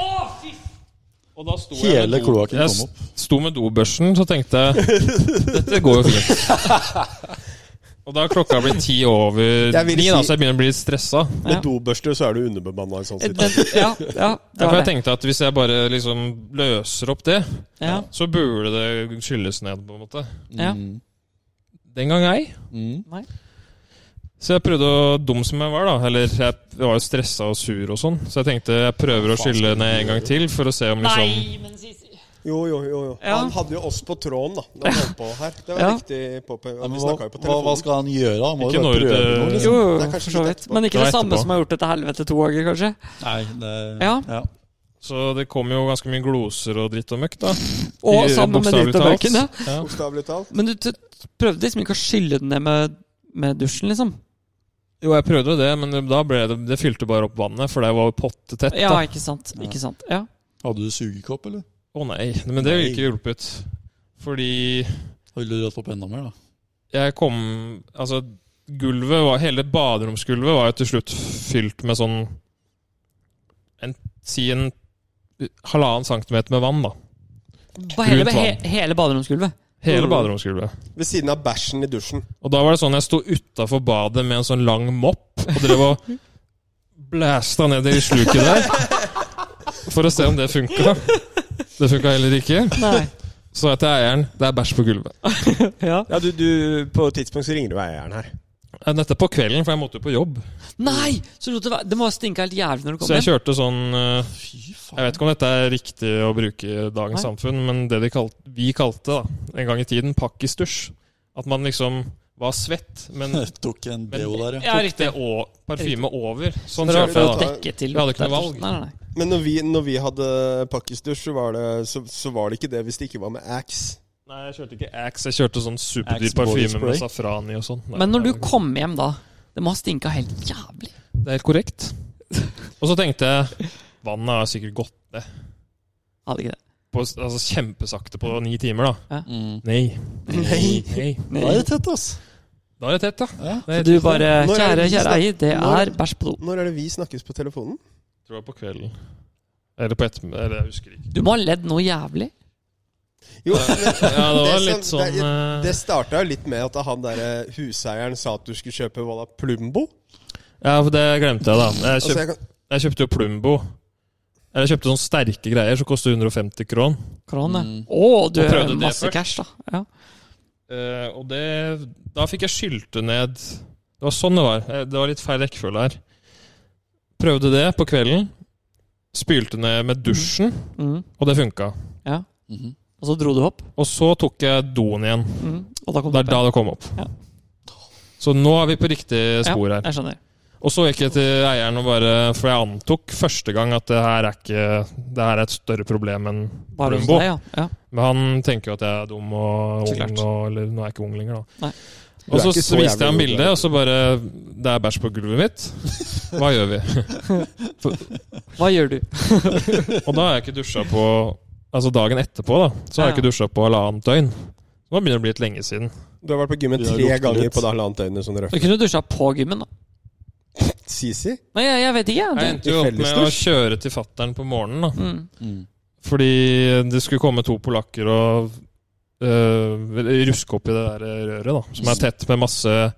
Speaker 2: Og da sto jeg
Speaker 3: Hele
Speaker 2: med do-
Speaker 3: kloakken
Speaker 2: jeg
Speaker 3: kom opp.
Speaker 2: sto med dobørsten, så tenkte jeg Dette går jo fint. Og da er klokka blitt ti over
Speaker 4: Jeg vil
Speaker 2: ni, da,
Speaker 4: si-
Speaker 2: så jeg begynner å bli litt stressa.
Speaker 1: Ja.
Speaker 4: med dobørster så er du underbemanna i en sånn situasjon.
Speaker 1: Den, ja, ja, det
Speaker 2: Ja, for
Speaker 1: var
Speaker 2: jeg
Speaker 1: det.
Speaker 2: tenkte at hvis jeg bare liksom løser opp det,
Speaker 1: Ja,
Speaker 2: så burde det skylles ned, på en måte.
Speaker 1: ja.
Speaker 3: Mm.
Speaker 2: Den gang ei.
Speaker 3: Mm.
Speaker 2: Så jeg prøvde å Dum som jeg var, da. Eller jeg var jo stressa og sur og sånn. Så jeg tenkte jeg prøver å skylle ned en gang til, for å se om liksom
Speaker 1: men Sisi
Speaker 4: Jo, jo, jo. jo.
Speaker 1: Ja.
Speaker 4: Han hadde jo oss på tråden da når han holdt på her. Det var
Speaker 1: Ja.
Speaker 4: riktig påpeke.
Speaker 3: Ja,
Speaker 4: Og
Speaker 3: men
Speaker 4: Vi
Speaker 3: hva,
Speaker 4: snakka jo på
Speaker 3: hva, hva
Speaker 4: telefonen.
Speaker 3: skal han gjøre? Han må
Speaker 2: Ikke
Speaker 3: jo
Speaker 2: når
Speaker 3: bare prøve
Speaker 2: det-
Speaker 3: noe.
Speaker 1: Eh, Jo,
Speaker 3: Liksom.
Speaker 1: jo,
Speaker 4: Det er kanskje
Speaker 1: for så
Speaker 4: litt
Speaker 1: vidt.
Speaker 4: etterpå.
Speaker 1: Men ikke det
Speaker 2: Det var
Speaker 1: samme
Speaker 2: etterpå.
Speaker 1: som har gjort det til helvete to ganger, kanskje?
Speaker 3: Nei, det,
Speaker 1: Ja.
Speaker 2: Så det kom jo ganske mye gloser og dritt og møkk, da.
Speaker 1: Og
Speaker 2: I-
Speaker 1: sammen med
Speaker 2: bokstavelig
Speaker 1: dritt og
Speaker 2: talt.
Speaker 1: bøkene.
Speaker 2: Ja.
Speaker 4: Bokstavelig talt.
Speaker 1: Men du t prøvde liksom ikke å skylle den ned med, med dusjen, liksom?
Speaker 2: Jo, jeg prøvde det, men det- da ble det Det fylte bare opp vannet, for det var pottetett.
Speaker 1: Ja,
Speaker 2: da. Å
Speaker 1: ikke sant. Ikke sant. Ja.
Speaker 3: Hadde du sugekopp, eller?
Speaker 2: nei, men det ville ikke hjulpet. Fordi
Speaker 3: Ville du dratt opp enda mer, da?
Speaker 2: jeg kom Altså, gulvet var Hele baderomsgulvet var jo til slutt fylt med sånn en, Si en halvannen centimeter med vann, da.
Speaker 1: Ba- Hele,
Speaker 2: Brunt
Speaker 1: he,
Speaker 2: vann.
Speaker 1: hele baderomsgulvet.
Speaker 2: Hele
Speaker 4: Mm.
Speaker 2: baderomsgulvet.
Speaker 4: Ved siden av bæsjen i dusjen.
Speaker 2: Og da var det sånn jeg sto utafor badet med en sånn lang mopp og drev og blæsta ned i sluket der. For å se om det funka. Det funka heller ikke.
Speaker 1: Nei.
Speaker 2: Så jeg til eieren det er bæsj på gulvet.
Speaker 1: Ja.
Speaker 4: Ja, du, du, På et tidspunkt så ringer du eieren her.
Speaker 2: Dette på kvelden, for jeg måtte jo på jobb.
Speaker 1: Nei! Så lot det være Det må ha stinka helt jævlig når du kom
Speaker 2: Så jeg
Speaker 1: hjem.
Speaker 2: kjørte sånn eh,
Speaker 3: Fy faen.
Speaker 2: Jeg vet ikke om dette er riktig å bruke i dagens
Speaker 1: Nei.
Speaker 2: samfunn, men det de kalt, vi kalte da, en gang i tiden pakkistusj. At man liksom var svett, men
Speaker 3: Jeg tok en
Speaker 2: Mm. Men-
Speaker 3: deo der, ja.
Speaker 1: Ja,
Speaker 2: det
Speaker 1: riktig.
Speaker 2: å- parfyme over. Sånn
Speaker 1: Dere har
Speaker 2: kjørte
Speaker 1: for å
Speaker 2: jeg da.
Speaker 1: dekke til.
Speaker 2: Vi hadde ikke noe valg.
Speaker 1: Nei, nei, nei.
Speaker 4: Men når vi, når vi hadde pakkisdusj, så, var det- så, så var det ikke det hvis det ikke var med Axe.
Speaker 2: Nei, jeg kjørte ikke Axe. Jeg kjørte sånn superdyr
Speaker 3: Axe body
Speaker 2: parfyme med
Speaker 3: spray.
Speaker 2: safran i og sånn. Nei,
Speaker 1: Men når du
Speaker 2: det var-
Speaker 1: kom hjem da Det må ha stinka helt jævlig.
Speaker 2: Det er helt korrekt. Og så tenkte jeg vannet har sikkert gått ned.
Speaker 1: Hadde ikke det.
Speaker 2: På, altså kjempesakte på ni timer, da.
Speaker 3: Mm.
Speaker 2: Nei.
Speaker 4: Nei.
Speaker 2: Nei.
Speaker 3: Da er det tett, ass.
Speaker 2: Da er det tett, da.
Speaker 3: Ja.
Speaker 2: Det er,
Speaker 1: Du bare
Speaker 4: Når er
Speaker 1: Kjære,
Speaker 4: det vi
Speaker 1: kjære
Speaker 4: snak-
Speaker 1: eier, det
Speaker 4: når-
Speaker 1: er bæsj på do.
Speaker 4: Når er det vi snakkes på telefonen?
Speaker 2: tror jeg på kvelden. Eller på ettermiddag. Eller jeg husker ikke.
Speaker 1: Du må ha ledd noe jævlig.
Speaker 4: Jo, men,
Speaker 2: Ja, det var
Speaker 4: som-
Speaker 2: litt sånn
Speaker 4: det-
Speaker 2: eh,
Speaker 4: Det starta jo litt med at han der eh, huseieren sa at du skulle kjøpe hva da, Plumbo.
Speaker 2: Ja, for det glemte jeg, da. Jeg,
Speaker 4: Altså,
Speaker 2: kjøp,
Speaker 4: jeg kan,
Speaker 2: jeg kjøpte jo Plumbo. Eller jeg kjøpte sånne sterke greier som koster 150 kron.
Speaker 1: Korona. Å,
Speaker 3: Mm.
Speaker 1: du
Speaker 2: Og prøvde det
Speaker 1: masse
Speaker 2: først.
Speaker 1: cash, da. Ja.
Speaker 2: Eh, og det Da fikk jeg skylte ned Det var sånn det var. Eh, Det var litt feil rekkefølge her. Prøvde det på kvelden. Spylte ned
Speaker 1: Mhm.
Speaker 2: med dusjen,
Speaker 1: Mm.
Speaker 2: og det funka.
Speaker 3: Mhm.
Speaker 1: Og så dro du opp.
Speaker 2: Og så tok jeg doen igjen.
Speaker 1: Mm. Og da kom
Speaker 2: Det er
Speaker 1: du
Speaker 2: da
Speaker 1: opp.
Speaker 2: det kom opp.
Speaker 1: Ja.
Speaker 2: Så nå er vi på riktig spor
Speaker 1: igjen.
Speaker 2: her.
Speaker 1: Jeg skjønner.
Speaker 2: Og så gikk jeg til eieren og bare For jeg antok første gang at det her er ikke Det her er et større problem enn
Speaker 1: Bare hos
Speaker 2: Plumbo.
Speaker 1: deg, ja. ja.
Speaker 2: Men han tenker jo at jeg er dum og
Speaker 1: Så
Speaker 2: ung,
Speaker 1: klart.
Speaker 2: og, eller nå er jeg ikke ung lenger, da.
Speaker 1: Nei.
Speaker 2: Og
Speaker 4: Du er
Speaker 2: så,
Speaker 4: ikke så
Speaker 2: viste jeg
Speaker 4: jævlig
Speaker 2: ham
Speaker 4: ung,
Speaker 2: bildet,
Speaker 4: da.
Speaker 2: og så bare Det er bæsj på gulvet mitt. Hva gjør vi?
Speaker 1: Hva gjør du?
Speaker 2: Og da har jeg ikke dusja på Altså dagen etterpå, da. Så har jeg
Speaker 1: Ja.
Speaker 2: ikke dusja på halvannet døgn. Nå begynner det å bli litt lenge siden.
Speaker 4: du har vært på gymmen
Speaker 3: Vi har
Speaker 4: tre
Speaker 3: luktet
Speaker 4: ganger
Speaker 3: litt.
Speaker 4: på det halvannet døgnet. Sånn
Speaker 1: Du kunne dusja på gymmen, da.
Speaker 4: Sisi?
Speaker 1: Nei, jeg, jeg vet ikke.
Speaker 2: Jeg
Speaker 1: jeg.
Speaker 2: endte jo opp med å
Speaker 4: fellesdusj?
Speaker 2: kjøre til fattern på morgenen, da.
Speaker 1: Det, mm.
Speaker 3: Mm.
Speaker 2: Fordi det skulle komme to polakker og øh, ruske opp i det der røret, da. Som er tett med masse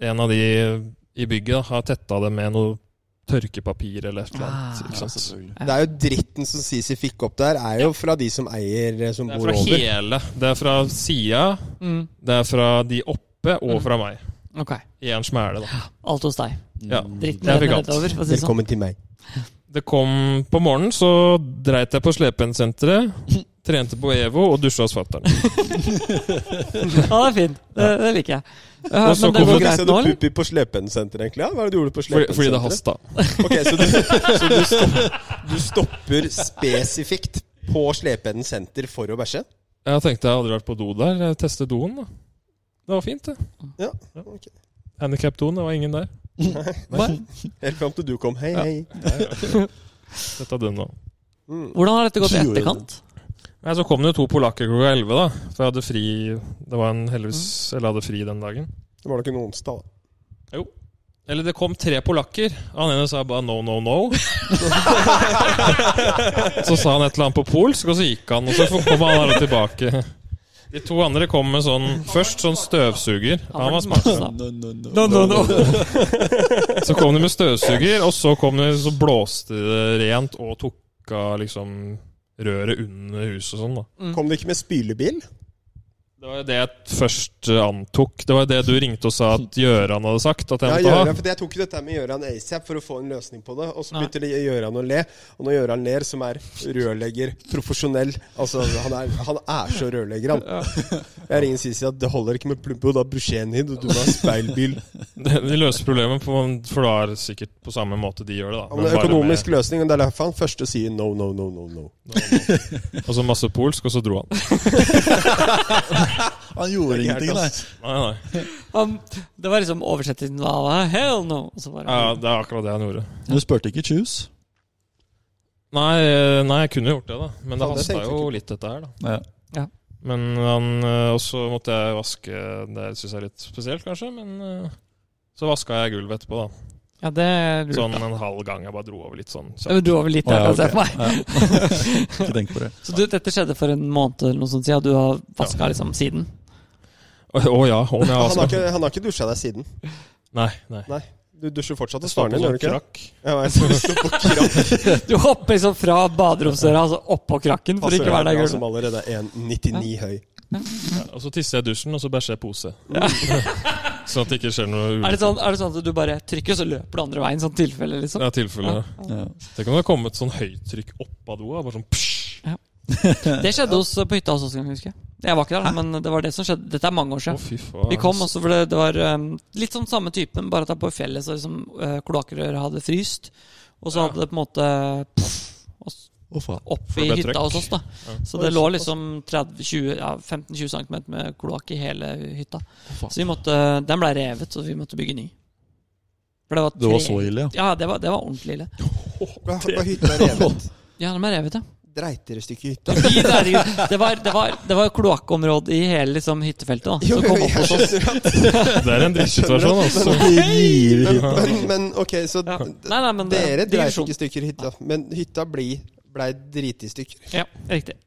Speaker 2: En av de i bygget da, har tetta det med noe tørkepapir eller et eller annet.
Speaker 1: Ah,
Speaker 2: ikke
Speaker 3: Ja,
Speaker 2: sant?
Speaker 3: selvfølgelig.
Speaker 4: Det er jo dritten som Sisi fikk opp der, er jo fra de som eier, eh, som
Speaker 2: Det
Speaker 4: bor
Speaker 2: er fra
Speaker 4: over.
Speaker 2: hele. Det er fra sida,
Speaker 1: Mm.
Speaker 2: det er fra de oppe og fra meg.
Speaker 1: Ok.
Speaker 2: I en smæle, da.
Speaker 1: Alt hos deg.
Speaker 2: Ja.
Speaker 1: Dritten
Speaker 2: Jeg fikk
Speaker 1: renner
Speaker 2: alt.
Speaker 1: nedover, for å si det sånn.
Speaker 4: Velkommen til meg.
Speaker 2: Det kom på morgenen, så dreit jeg på slepennsenteret. Trente på EVO og dusja hos fatter'n.
Speaker 1: Ja, det er fint. Det, det liker jeg. Ja,
Speaker 2: Og så
Speaker 1: men det
Speaker 2: kommer
Speaker 1: går
Speaker 4: Hvorfor
Speaker 1: greit
Speaker 4: fiksa du
Speaker 1: nå, eller?
Speaker 4: pupp i på Slepensenteret, egentlig? Ja? Hva er det du gjorde på
Speaker 2: Fordi,
Speaker 4: Slepensenteret?
Speaker 2: fordi det hasta.
Speaker 4: Ok, så du, så du, stopp, du stopper spesifikt på Slependen senter for å bæsje?
Speaker 2: Jeg tenkte jeg hadde vært på do der. Jeg testet doen, da. Det var fint, det.
Speaker 4: Ja. ok.
Speaker 2: Handikap-doen, det var ingen der.
Speaker 4: Helt fram til du kom. Hei,
Speaker 2: Ja.
Speaker 4: hei.
Speaker 2: Dette er den da.
Speaker 4: Mm.
Speaker 1: Hvordan har dette gått i
Speaker 3: Gjorde det.
Speaker 1: etterkant?
Speaker 2: Nei, så kom det jo to polakker klokka elleve, da. For jeg hadde fri Det var en heldigvis
Speaker 4: Mm.
Speaker 2: Eller jeg hadde fri den dagen.
Speaker 4: Det var nok en onsdag, da.
Speaker 2: Eller det kom tre polakker. Han ene sa bare no, no, no. så sa han et eller annet på polsk, og så gikk han. Og så kom han alle tilbake. De to andre kom med sånn Først sånn støvsuger. Han var smart.
Speaker 1: smart. altså.
Speaker 3: No, no, no.
Speaker 2: Så kom de med støvsuger, og så, kom de, så blåste det rent og tok av liksom røret under huset og sånn, da.
Speaker 4: Kom du ikke med spylebil?
Speaker 2: Det var jo det jeg først eh, antok. Det var det du ringte og sa at Gjøran hadde sagt at jeg
Speaker 4: Ja,
Speaker 2: måtte
Speaker 4: Gjøran,
Speaker 2: ha.
Speaker 4: for Jeg tok jo dette her med Gjøran ASAP for å få en løsning på det. Og så
Speaker 1: Nei.
Speaker 4: begynte det- Gjøran å le. Og når Gjøran ler, som er rørlegger, profesjonell Altså, han er, han er så rørlegger, han. Jeg ringer Sisi at det holder ikke med Plumbo, da Brusjenid, og du må ha speilbil.
Speaker 2: De løser problemet, på, for da er det sikkert på samme måte de gjør det, da.
Speaker 4: Han har
Speaker 2: Men bare
Speaker 4: økonomisk løsning, og det er derfor han først sier no, no, no, no. no.
Speaker 2: med- Og så masse polsk, og så dro han.
Speaker 3: Han gjorde
Speaker 4: Det er
Speaker 3: ingenting,
Speaker 4: gærent,
Speaker 3: nei.
Speaker 4: ass.
Speaker 2: Nei, nei.
Speaker 1: Han- det var liksom oversettelsen av Hell no! Og så bare,
Speaker 2: Ja, det er akkurat det han gjorde.
Speaker 3: Du spurte ikke choose.
Speaker 2: Nei, eh, nei, jeg kunne gjort det, da. Men det
Speaker 4: Faen, det
Speaker 2: hasta
Speaker 4: tenkte jeg
Speaker 2: jo
Speaker 4: ikke på.
Speaker 2: litt, dette her, da.
Speaker 3: Ja.
Speaker 2: Men han eh, Og så måtte jeg vaske Det syns jeg er litt spesielt, kanskje, men eh, så vaska jeg gulvet etterpå, da.
Speaker 1: ja det lurte
Speaker 2: Sånn
Speaker 1: jeg.
Speaker 2: en halv gang. Jeg bare dro over litt sånn.
Speaker 1: Ja, men Du var vel litt
Speaker 3: Å, ja,
Speaker 1: der, kan jeg se for
Speaker 3: ok.
Speaker 1: meg.
Speaker 3: Ja. Ikke tenk på det.
Speaker 1: Så du, dette skjedde for en måned eller noe sånt siden, og du har vaska liksom siden?
Speaker 2: Å å ja, om jeg
Speaker 4: Han har
Speaker 2: vaska
Speaker 4: ikke, han har ikke dusja deg siden.
Speaker 2: Nei, nei.
Speaker 4: Nei. Du dusjer fortsatt
Speaker 2: Det
Speaker 4: hos
Speaker 2: står
Speaker 4: faren
Speaker 2: på
Speaker 4: din, gjør
Speaker 2: sånn
Speaker 4: du ikke det?
Speaker 2: krakk.
Speaker 4: Ja, jeg så det står på krakk.
Speaker 1: Du hopper liksom fra baderomsdøra altså oppå krakken for ikke å være der i
Speaker 4: Han
Speaker 2: altså
Speaker 1: gulvet.
Speaker 4: Som allerede er 1,99 høy.
Speaker 2: Ja, og så tisser jeg i dusjen, og så bæsjer jeg i pose. sånn at det ikke skjer noe
Speaker 1: Er det,
Speaker 2: ulykke.
Speaker 1: sånn, er det sånn at du bare trykker, og så løper du andre veien? Sånn tilfelle, liksom?
Speaker 2: Det er tilfellet.
Speaker 3: Ja.
Speaker 2: Tenk om det hadde kommet sånn høytrykk opp av doa. Bare sånn psj.
Speaker 1: Ja. Det skjedde hos, på hytta hos oss. kan jeg huske. Jeg var ikke der, da, men det var det som skjedde. Dette er mange år
Speaker 2: Å,
Speaker 1: siden.
Speaker 2: fy faen. altså.
Speaker 1: Vi kom også, for det, det var um, litt sånn samme typen, bare at det er på fjellet så liksom uh, kloakkrøret hadde fryst. Og så
Speaker 2: Ja.
Speaker 1: hadde det på en måte pff, og s-
Speaker 3: Å, faen.
Speaker 1: opp
Speaker 2: det
Speaker 1: i
Speaker 2: ble
Speaker 1: hytta
Speaker 2: trøkk.
Speaker 1: hos oss, da.
Speaker 2: Ja.
Speaker 1: Så det lå liksom 30, 20, ja, 15-20 cm med kloakk i hele hytta.
Speaker 3: faen.
Speaker 1: Så vi måtte, den ble revet, så vi måtte bygge ny. For det var
Speaker 3: Det var
Speaker 1: tre-
Speaker 3: så ille, ja.
Speaker 1: Ja, det var, det var ordentlig ille.
Speaker 4: Hva hva hytta er revet?
Speaker 1: Ja, den ble revet, ja.
Speaker 4: Dreit dere stykket hytta?
Speaker 1: I der- Det var, det var, det var kloakkområde i hele liksom, hyttefeltet. da Så kom opp
Speaker 4: jeg
Speaker 1: hos oss
Speaker 4: skjønner at-
Speaker 2: Det er en drittsituasjon, altså.
Speaker 3: River hytta.
Speaker 4: men, men ok, så
Speaker 1: Ja. Nei, nei, men det-
Speaker 4: dere dreit
Speaker 1: digresjon.
Speaker 4: ikke i stykker hytta. Men hytta bli, blei driti i stykker.
Speaker 1: Ja, riktig.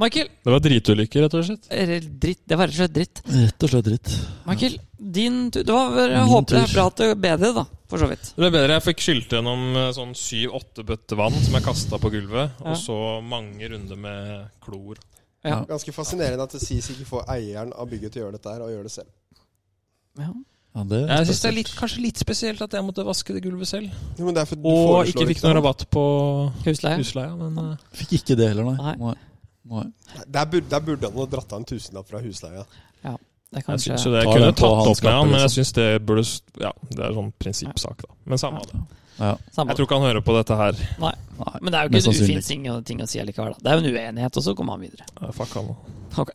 Speaker 1: Michael,
Speaker 2: Det var dritulykker, rett og slett.
Speaker 1: eller dritt, det var rett og slett dritt.
Speaker 3: Rett og slett dritt.
Speaker 1: Michael, din tur. Det var vel- jeg
Speaker 3: Min
Speaker 1: håper det er
Speaker 3: tur.
Speaker 1: bra at det er bedre, da. For så vidt.
Speaker 2: Det ble bedre. Jeg fikk skylt gjennom eh, sånn syv-åtte bøtter vann som jeg kasta på gulvet,
Speaker 1: Ja.
Speaker 2: og så mange runder med klor.
Speaker 1: Ja.
Speaker 4: Ganske fascinerende at det sies ikke få eieren av bygget til å gjøre dette her, og gjøre det selv.
Speaker 1: Ja.
Speaker 3: Ja, det er
Speaker 2: Jeg synes det er
Speaker 3: spesielt.
Speaker 2: litt, kanskje litt spesielt at jeg måtte vaske det gulvet selv.
Speaker 4: Jo, men derfor du
Speaker 2: Og
Speaker 4: foreslår
Speaker 2: ikke fikk noe
Speaker 4: det.
Speaker 2: rabatt på
Speaker 1: Husleie.
Speaker 2: husleia, men eh,
Speaker 3: Fikk ikke det heller, nei.
Speaker 1: Nei.
Speaker 3: nei. nei.
Speaker 4: Der burde, der burde han ha dratt av en tusenlapp fra husleia.
Speaker 1: Det kan
Speaker 2: jeg syns
Speaker 1: kanskje
Speaker 2: jo det jeg
Speaker 3: Ta
Speaker 2: kunne
Speaker 3: den på
Speaker 2: tatt opp med
Speaker 3: hanskapet,
Speaker 2: ham, men jeg
Speaker 3: liksom.
Speaker 2: syns det burde s- Ja, det er sånn prinsippsak, da. Men samme av det.
Speaker 3: Ja.
Speaker 1: samme.
Speaker 2: Jeg tror ikke han hører på dette her.
Speaker 1: Nei.
Speaker 3: Nei.
Speaker 1: Men det er jo
Speaker 3: Mest
Speaker 1: ikke en
Speaker 3: sannsynlig.
Speaker 1: ufin ting, å- ting å si allikevel. Da. Det er jo en uenighet, og så kommer han videre.
Speaker 2: Eh, Fuck han. da.
Speaker 1: Ok.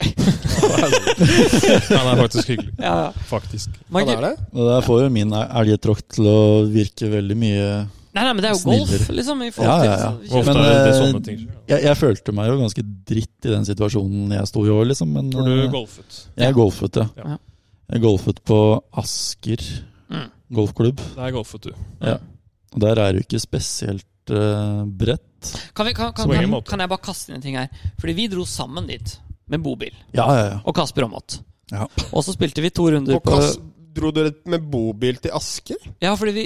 Speaker 2: Han er faktisk hyggelig.
Speaker 1: Ja, ja.
Speaker 2: Faktisk.
Speaker 4: Han er
Speaker 1: Michael,
Speaker 4: det?
Speaker 3: Det der får jo min elgetråkk til å virke veldig mye
Speaker 1: nei, nei, men det er jo golf,
Speaker 3: Snillere.
Speaker 1: liksom. I
Speaker 3: Ja,
Speaker 1: forhold til
Speaker 3: ja, ja.
Speaker 2: Hvor ofte
Speaker 3: Men,
Speaker 2: er det
Speaker 3: eh,
Speaker 2: sånne ting? skjer?
Speaker 3: jeg, jeg følte meg jo ganske dritt i den situasjonen jeg sto i år, liksom. Men
Speaker 2: Tror du
Speaker 3: eh,
Speaker 2: golfet?
Speaker 3: jeg golfet, ja.
Speaker 1: Ja.
Speaker 3: Jeg golfet på Asker
Speaker 1: Mm.
Speaker 3: golfklubb.
Speaker 2: Det er golfet, du.
Speaker 3: Og der er det jo ikke spesielt eh, bredt.
Speaker 1: Kan, vi, kan, kan,
Speaker 2: Så på ingen
Speaker 1: kan,
Speaker 2: måte.
Speaker 1: kan jeg bare kaste inn en ting her? Fordi vi dro sammen dit med bobil
Speaker 3: Ja, ja, ja.
Speaker 1: og Kasper Aamodt.
Speaker 3: Ja.
Speaker 1: Og så spilte vi to runder
Speaker 4: Og
Speaker 1: på
Speaker 4: Kass, dro dere med bobil til Asker?
Speaker 1: Ja, fordi vi,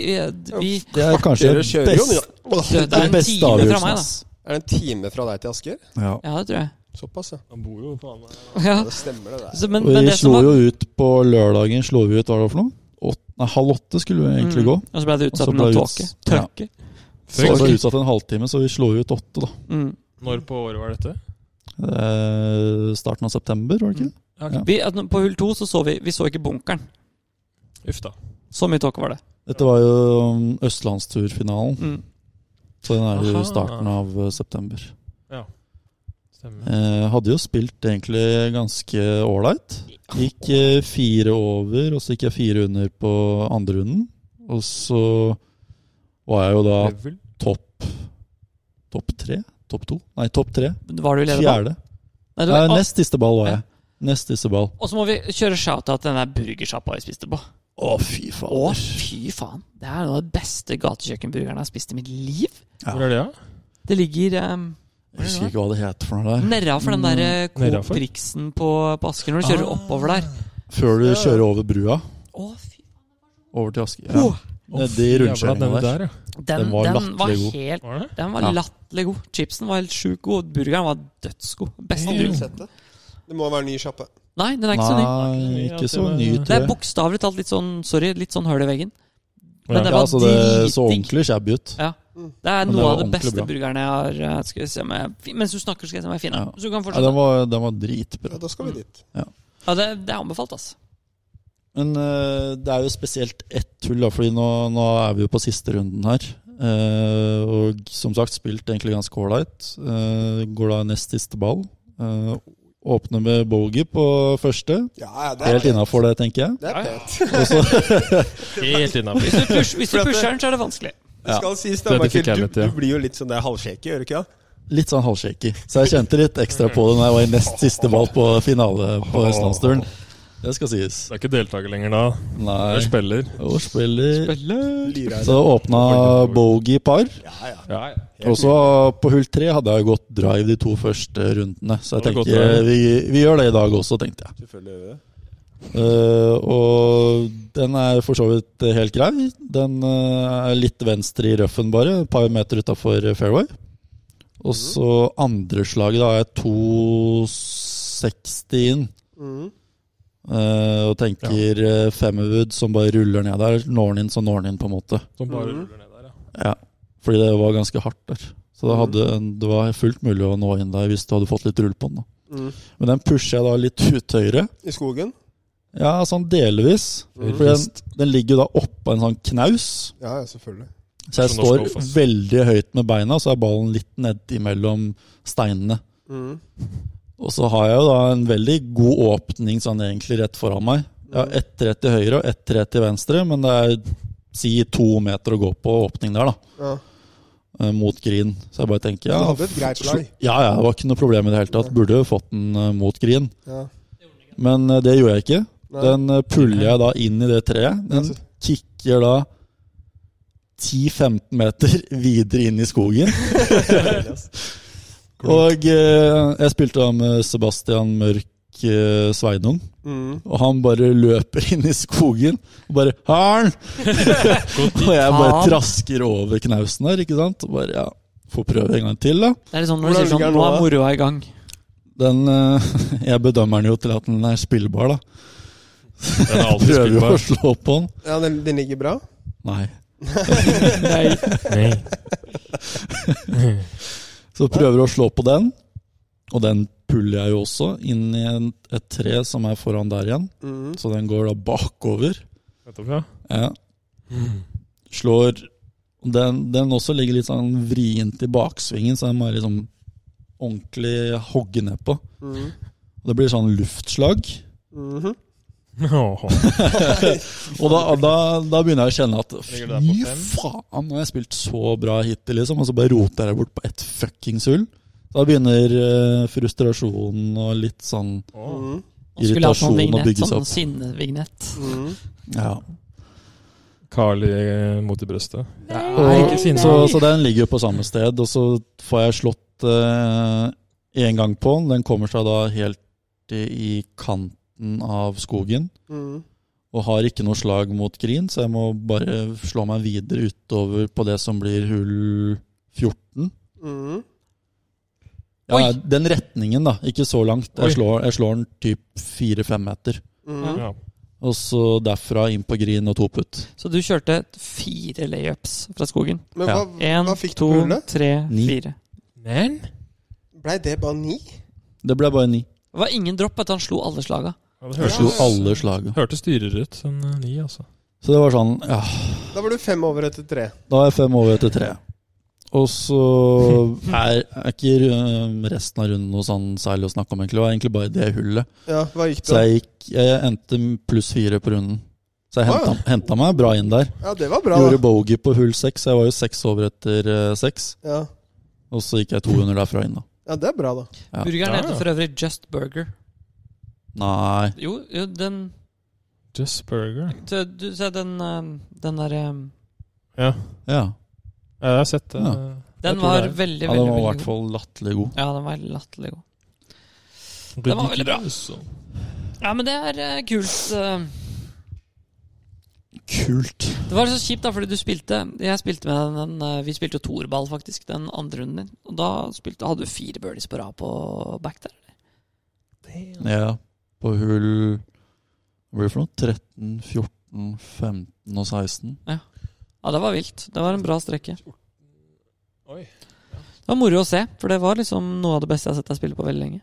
Speaker 1: vi
Speaker 3: Det er kanskje
Speaker 4: Dere kjører jo
Speaker 3: best,
Speaker 4: Åh,
Speaker 1: Det er
Speaker 3: den
Speaker 1: en
Speaker 3: beste
Speaker 1: time fra
Speaker 3: avgjørelsen,
Speaker 1: meg,
Speaker 3: ass.
Speaker 4: Er det en time fra deg til Asker?
Speaker 3: Ja.
Speaker 1: da. Ja, det tror jeg.
Speaker 4: Såpass, ja.
Speaker 2: Han bor jo faen meg
Speaker 1: Ja.
Speaker 4: Ja, Det stemmer, det der.
Speaker 1: Så, men,
Speaker 3: Og
Speaker 1: men
Speaker 3: vi
Speaker 1: det som
Speaker 3: slo
Speaker 1: var,
Speaker 3: jo ut på lørdagen Slo vi ut, hva var det for noe? Åt, nei, halv åtte skulle vi egentlig gå.
Speaker 1: Mm. Og så ble det
Speaker 3: Og så
Speaker 1: utsatt
Speaker 3: ble
Speaker 1: med
Speaker 3: det
Speaker 1: tåke.
Speaker 3: uts-
Speaker 1: Tørke.
Speaker 3: Så det var
Speaker 1: Sorry.
Speaker 3: utsatt en halvtime, så vi slo ut åtte, da.
Speaker 1: Mm.
Speaker 2: Når på året var dette?
Speaker 3: Eh, starten av september, var det ikke?
Speaker 1: Mm.
Speaker 3: Ja.
Speaker 1: Vi, at på hull to så så vi Vi så ikke bunkeren.
Speaker 2: Uff da.
Speaker 1: Så mye tåke var det.
Speaker 3: Dette var jo um, østlandsturfinalen,
Speaker 1: Mm.
Speaker 3: så den er jo
Speaker 2: Aha.
Speaker 3: i starten av eh, september.
Speaker 2: Stemmer.
Speaker 3: Eh, hadde jo spilt egentlig ganske ålreit. Gikk eh, fire over, og så gikk jeg fire under på andre runden. Og så var jeg jo da
Speaker 2: Level.
Speaker 3: topp Topp tre? Topp to? Nei, topp tre.
Speaker 1: Var du i lederball?
Speaker 3: Fjerde.
Speaker 1: Nei, det
Speaker 3: Nei,
Speaker 1: var- Å,
Speaker 3: nest siste ball var jeg. Nest siste ball.
Speaker 1: og så må vi kjøre shout-out til den der burgersjappa vi spiste på.
Speaker 3: Å, fy
Speaker 1: Å, fy faen! Det er noe av det beste gatekjøkkenburgeren jeg har spist i mitt liv.
Speaker 2: Hvor er det, da?
Speaker 1: Det ligger um,
Speaker 3: Jeg husker ikke hva det het for noe der.
Speaker 1: nedafor den der eh,
Speaker 3: Mm,
Speaker 2: Nedafor?
Speaker 1: Coop Riksen på, på Asker, når du kjører
Speaker 2: Ah.
Speaker 1: oppover der.
Speaker 3: Før du kjører over brua,
Speaker 1: Å, fy
Speaker 3: over til Asker. Ja. Nedi rundkjøringa der.
Speaker 2: ja.
Speaker 1: Den,
Speaker 3: Den var
Speaker 1: den var
Speaker 3: latterlig god.
Speaker 1: helt
Speaker 2: Var det?
Speaker 1: Den var
Speaker 3: Ja.
Speaker 1: latterlig god. Chipsen var helt sjukt god. og Burgeren var dødsgod. Beste
Speaker 2: Damn.
Speaker 4: Har du
Speaker 1: burgeren.
Speaker 4: sett det? Det må være en ny sjappe.
Speaker 1: Nei, den er ikke så ny.
Speaker 3: Nei, ikke så ny,
Speaker 1: Det
Speaker 3: tror
Speaker 1: er
Speaker 3: jeg.
Speaker 1: bokstavelig talt litt sånn Sorry, litt sånn høl i veggen. Men det
Speaker 3: Ja,
Speaker 1: var
Speaker 3: altså det
Speaker 1: dritdigg.
Speaker 3: så ordentlig shabby ut.
Speaker 1: Det er
Speaker 3: Men
Speaker 1: noe
Speaker 3: det var
Speaker 1: av det
Speaker 3: ordentlig
Speaker 1: beste
Speaker 3: bra.
Speaker 1: burgerne jeg har eh, skal jeg se om jeg, fin- Mens du snakker, skal jeg se om jeg finner den.
Speaker 3: Ja.
Speaker 1: Så du kan
Speaker 3: Ja, den,
Speaker 1: fortsette.
Speaker 3: var, den var
Speaker 4: Ja,
Speaker 3: dritbra.
Speaker 4: da skal vi dit.
Speaker 1: Ja, det, det er anbefalt, ass.
Speaker 3: Men eh, det er jo spesielt ett hull, da, fordi nå, nå er vi jo på siste runden her. Eh, og som sagt, spilt egentlig ganske ålreit. Eh, går da nest siste ball. Eh, åpner med bogey på første.
Speaker 4: Ja, ja, det er
Speaker 3: Helt innafor det, tenker jeg.
Speaker 4: Det er pent.
Speaker 2: Helt innafor.
Speaker 1: Hvis du, push, hvis du pusher den, så er det vanskelig.
Speaker 4: Det skal sies, da,
Speaker 2: Dette
Speaker 4: Michael.
Speaker 2: fikk jeg
Speaker 4: Du,
Speaker 2: litt, ja.
Speaker 4: du blir jo litt sånn der halvsjekk, gjør du ikke det?
Speaker 3: Litt sånn halvshaky. Så jeg kjente litt ekstra på det når jeg var i nest siste ball på finale på Østlandsturen. Det skal sies.
Speaker 2: Det er ikke deltaker lenger da. Det
Speaker 3: Nei.
Speaker 2: er spiller.
Speaker 3: Og spiller
Speaker 4: Lirer.
Speaker 3: Så åpna bogey par.
Speaker 4: Ja, ja.
Speaker 2: Ja, ja.
Speaker 3: Og så på hull tre hadde jeg jo gått drive de to første rundene. Så jeg
Speaker 2: Har du gått
Speaker 3: tenker
Speaker 2: drive?
Speaker 3: vi, vi gjør det i dag også, tenkte jeg.
Speaker 4: Selvfølgelig gjør vi det.
Speaker 3: Eh, og den er for så vidt helt grei. Den eh, er litt venstre i røffen, bare. Et par meter utafor fairway. Og så andre slaget, da er jeg 260 inn.
Speaker 4: Mhm.
Speaker 3: Eh, og tenker eh, Femerwood som bare ruller ned
Speaker 1: Mm.
Speaker 3: der. Når den inn, så når den inn, på en måte.
Speaker 2: Som bare ruller ned der, ja.
Speaker 3: Ja. Fordi det var ganske hardt der. Så det, hadde, en- det var fullt mulig å nå inn der hvis du hadde fått litt rull på den. Da.
Speaker 4: Mm.
Speaker 3: Men den pusher jeg da litt ut høyre.
Speaker 4: I skogen?
Speaker 3: Ja, sånn delvis.
Speaker 4: Mm.
Speaker 3: For den, den ligger jo da oppå en sånn knaus.
Speaker 4: Ja, ja, selvfølgelig.
Speaker 3: Så jeg
Speaker 2: Som
Speaker 3: står
Speaker 2: norsk golf, ass.
Speaker 3: veldig høyt med beina, så er ballen litt nedi mellom steinene.
Speaker 4: Mm.
Speaker 3: Og så har jeg jo da en veldig god åpning sånn egentlig rett foran meg. Jeg har ett tre til høyre og ett tre til venstre, men det er si to meter å gå på åpning der, da.
Speaker 4: Ja.
Speaker 3: eh, Mot green. Så jeg bare tenker ja,
Speaker 4: Du hadde et greit lag.
Speaker 3: slo- Ja, ja, det var ikke noe problem i det hele tatt. Burde jo fått den eh, mot green.
Speaker 4: Ja.
Speaker 3: Men eh, det gjorde jeg ikke.
Speaker 4: Nei.
Speaker 3: Den eh, puller jeg da inn i det treet. Den
Speaker 4: Ja, så-
Speaker 3: kicker da 10-15 meter videre inn i skogen. og eh, jeg spilte da med Sebastian Mørk eh, Sveinung.
Speaker 4: Mm.
Speaker 3: Og han bare løper inn i skogen og bare 'Har'n!' og jeg bare
Speaker 1: Faen.
Speaker 3: trasker over knausen der, ikke sant. Og bare, ja, Får prøve en gang til, da.
Speaker 1: Det er litt sånn når du
Speaker 4: Hvordan
Speaker 1: sier sånn
Speaker 4: ligger den
Speaker 1: Nå
Speaker 4: nå,
Speaker 1: er
Speaker 4: da?
Speaker 1: moroa i gang.
Speaker 3: Den, eh, jeg bedømmer den jo til at den er spillbar, da.
Speaker 2: Den er alltid
Speaker 3: Prøver jo å
Speaker 2: spillbar.
Speaker 3: slå på den.
Speaker 4: ja, den, den ligger bra?
Speaker 3: Nei.
Speaker 1: Nei.
Speaker 2: Nei.
Speaker 3: Så prøver å slå på den, og den puller jeg jo også inn i en, et tre som er foran der igjen.
Speaker 4: Mm.
Speaker 3: Så den går da bakover.
Speaker 2: Nettopp, ja.
Speaker 3: Ja. Slår den, den også ligger litt sånn vrient i baksvingen, så den må jeg liksom ordentlig hogge ned på.
Speaker 4: Mm.
Speaker 3: Og det blir sånn luftslag.
Speaker 4: Mhm.
Speaker 2: Åh.
Speaker 3: Og da, da, da begynner jeg å kjenne at fy
Speaker 2: Ligger det der på fem?
Speaker 3: faen, nå har jeg spilt så bra hittil, liksom. Og så bare roter jeg bort på ett fuckings hull. Da begynner eh, frustrasjonen og litt sånn
Speaker 2: Åh.
Speaker 4: Mm.
Speaker 1: Nå skulle jeg hatt sånn
Speaker 3: Irritasjon å
Speaker 1: vignett.
Speaker 3: bygge seg
Speaker 1: Sånn
Speaker 3: opp.
Speaker 1: sinnevignett.
Speaker 4: Mm.
Speaker 3: Ja.
Speaker 2: Carl i eh, mot i brøstet.
Speaker 1: Nei,
Speaker 3: Og,
Speaker 1: ikke sinne.
Speaker 3: så, så den ligger jo på samme sted, og så får jeg slått én gang på den. Den kommer seg da helt i, i kanten av skogen.
Speaker 4: Mm.
Speaker 3: Og har ikke noe slag mot green, så jeg må bare slå meg videre utover på det som blir hull 14.
Speaker 4: Mm.
Speaker 3: Ja,
Speaker 1: Oi!
Speaker 3: den retningen, da. Ikke så langt.
Speaker 2: Oi.
Speaker 3: Jeg slår, jeg slår den typ fire-fem meter.
Speaker 4: Mm.
Speaker 2: Ja.
Speaker 3: Og så derfra inn på green og to putt.
Speaker 1: Så du kjørte fire layups fra skogen.
Speaker 4: Men
Speaker 3: Ja.
Speaker 4: hva,
Speaker 1: Én,
Speaker 4: hva fikk du
Speaker 1: to,
Speaker 4: på hullet?
Speaker 1: tre,
Speaker 3: Ni.
Speaker 1: fire.
Speaker 2: Men
Speaker 4: Blei det bare ni?
Speaker 3: Det ble bare ni.
Speaker 1: Det var ingen dropp at han slo alle slaga.
Speaker 2: ja, det
Speaker 3: Jeg
Speaker 2: hørtes
Speaker 3: slo alle slaga.
Speaker 2: Hørtes dyrere ut enn eh, ni, altså.
Speaker 3: Så det var sånn, ja
Speaker 4: Da var du fem over etter tre.
Speaker 3: Da er jeg fem over etter tre. Og så er, er ikke øh, resten av runden noe sånn særlig å snakke om, egentlig. Det var egentlig bare det hullet.
Speaker 4: Ja, hva gikk det?
Speaker 3: Så jeg, gikk, jeg endte pluss fire på runden. Så jeg
Speaker 4: Ah, ja.
Speaker 3: henta, henta meg bra inn der.
Speaker 4: Ja, det var bra,
Speaker 3: Gjorde
Speaker 4: da.
Speaker 3: bogey på hull seks. så Jeg var jo seks over etter øh, seks.
Speaker 4: Ja.
Speaker 3: Og så gikk jeg to under derfra inn, da.
Speaker 4: ja, det er bra, da.
Speaker 3: Ja.
Speaker 1: Burgeren
Speaker 2: Ja,
Speaker 1: heter
Speaker 2: ja.
Speaker 1: for øvrig Just Burger.
Speaker 3: Nei
Speaker 1: Jo, jo den
Speaker 2: Just burger.
Speaker 1: Du, du ser den, eh, den der eh,
Speaker 2: Ja,
Speaker 3: Ja.
Speaker 2: jeg har sett det.
Speaker 3: Ja.
Speaker 1: Den
Speaker 2: tror
Speaker 1: var
Speaker 2: det er-
Speaker 1: veldig,
Speaker 3: ja
Speaker 1: veldig,
Speaker 3: den var i
Speaker 1: veldig
Speaker 3: hvert
Speaker 1: god.
Speaker 3: fall latterlig god.
Speaker 1: Ja, den var latterlig god. Den var veldig bra. Ja, men det er eh, kult. eh.
Speaker 3: Kult.
Speaker 1: Det var så kjipt, da, fordi du spilte Jeg spilte med den, eh, Vi spilte jo toerball, faktisk, den andre runden din. Og da spilte, hadde du fire birdies på rad på back der.
Speaker 3: Ja. På hull Hva blir det for noe? 13, 14, 15 og 16.
Speaker 1: Ja, det var vilt. Det var en bra strekke.
Speaker 2: Oi.
Speaker 1: Det var moro å se, for det var liksom noe av det beste jeg har sett deg spille på veldig lenge.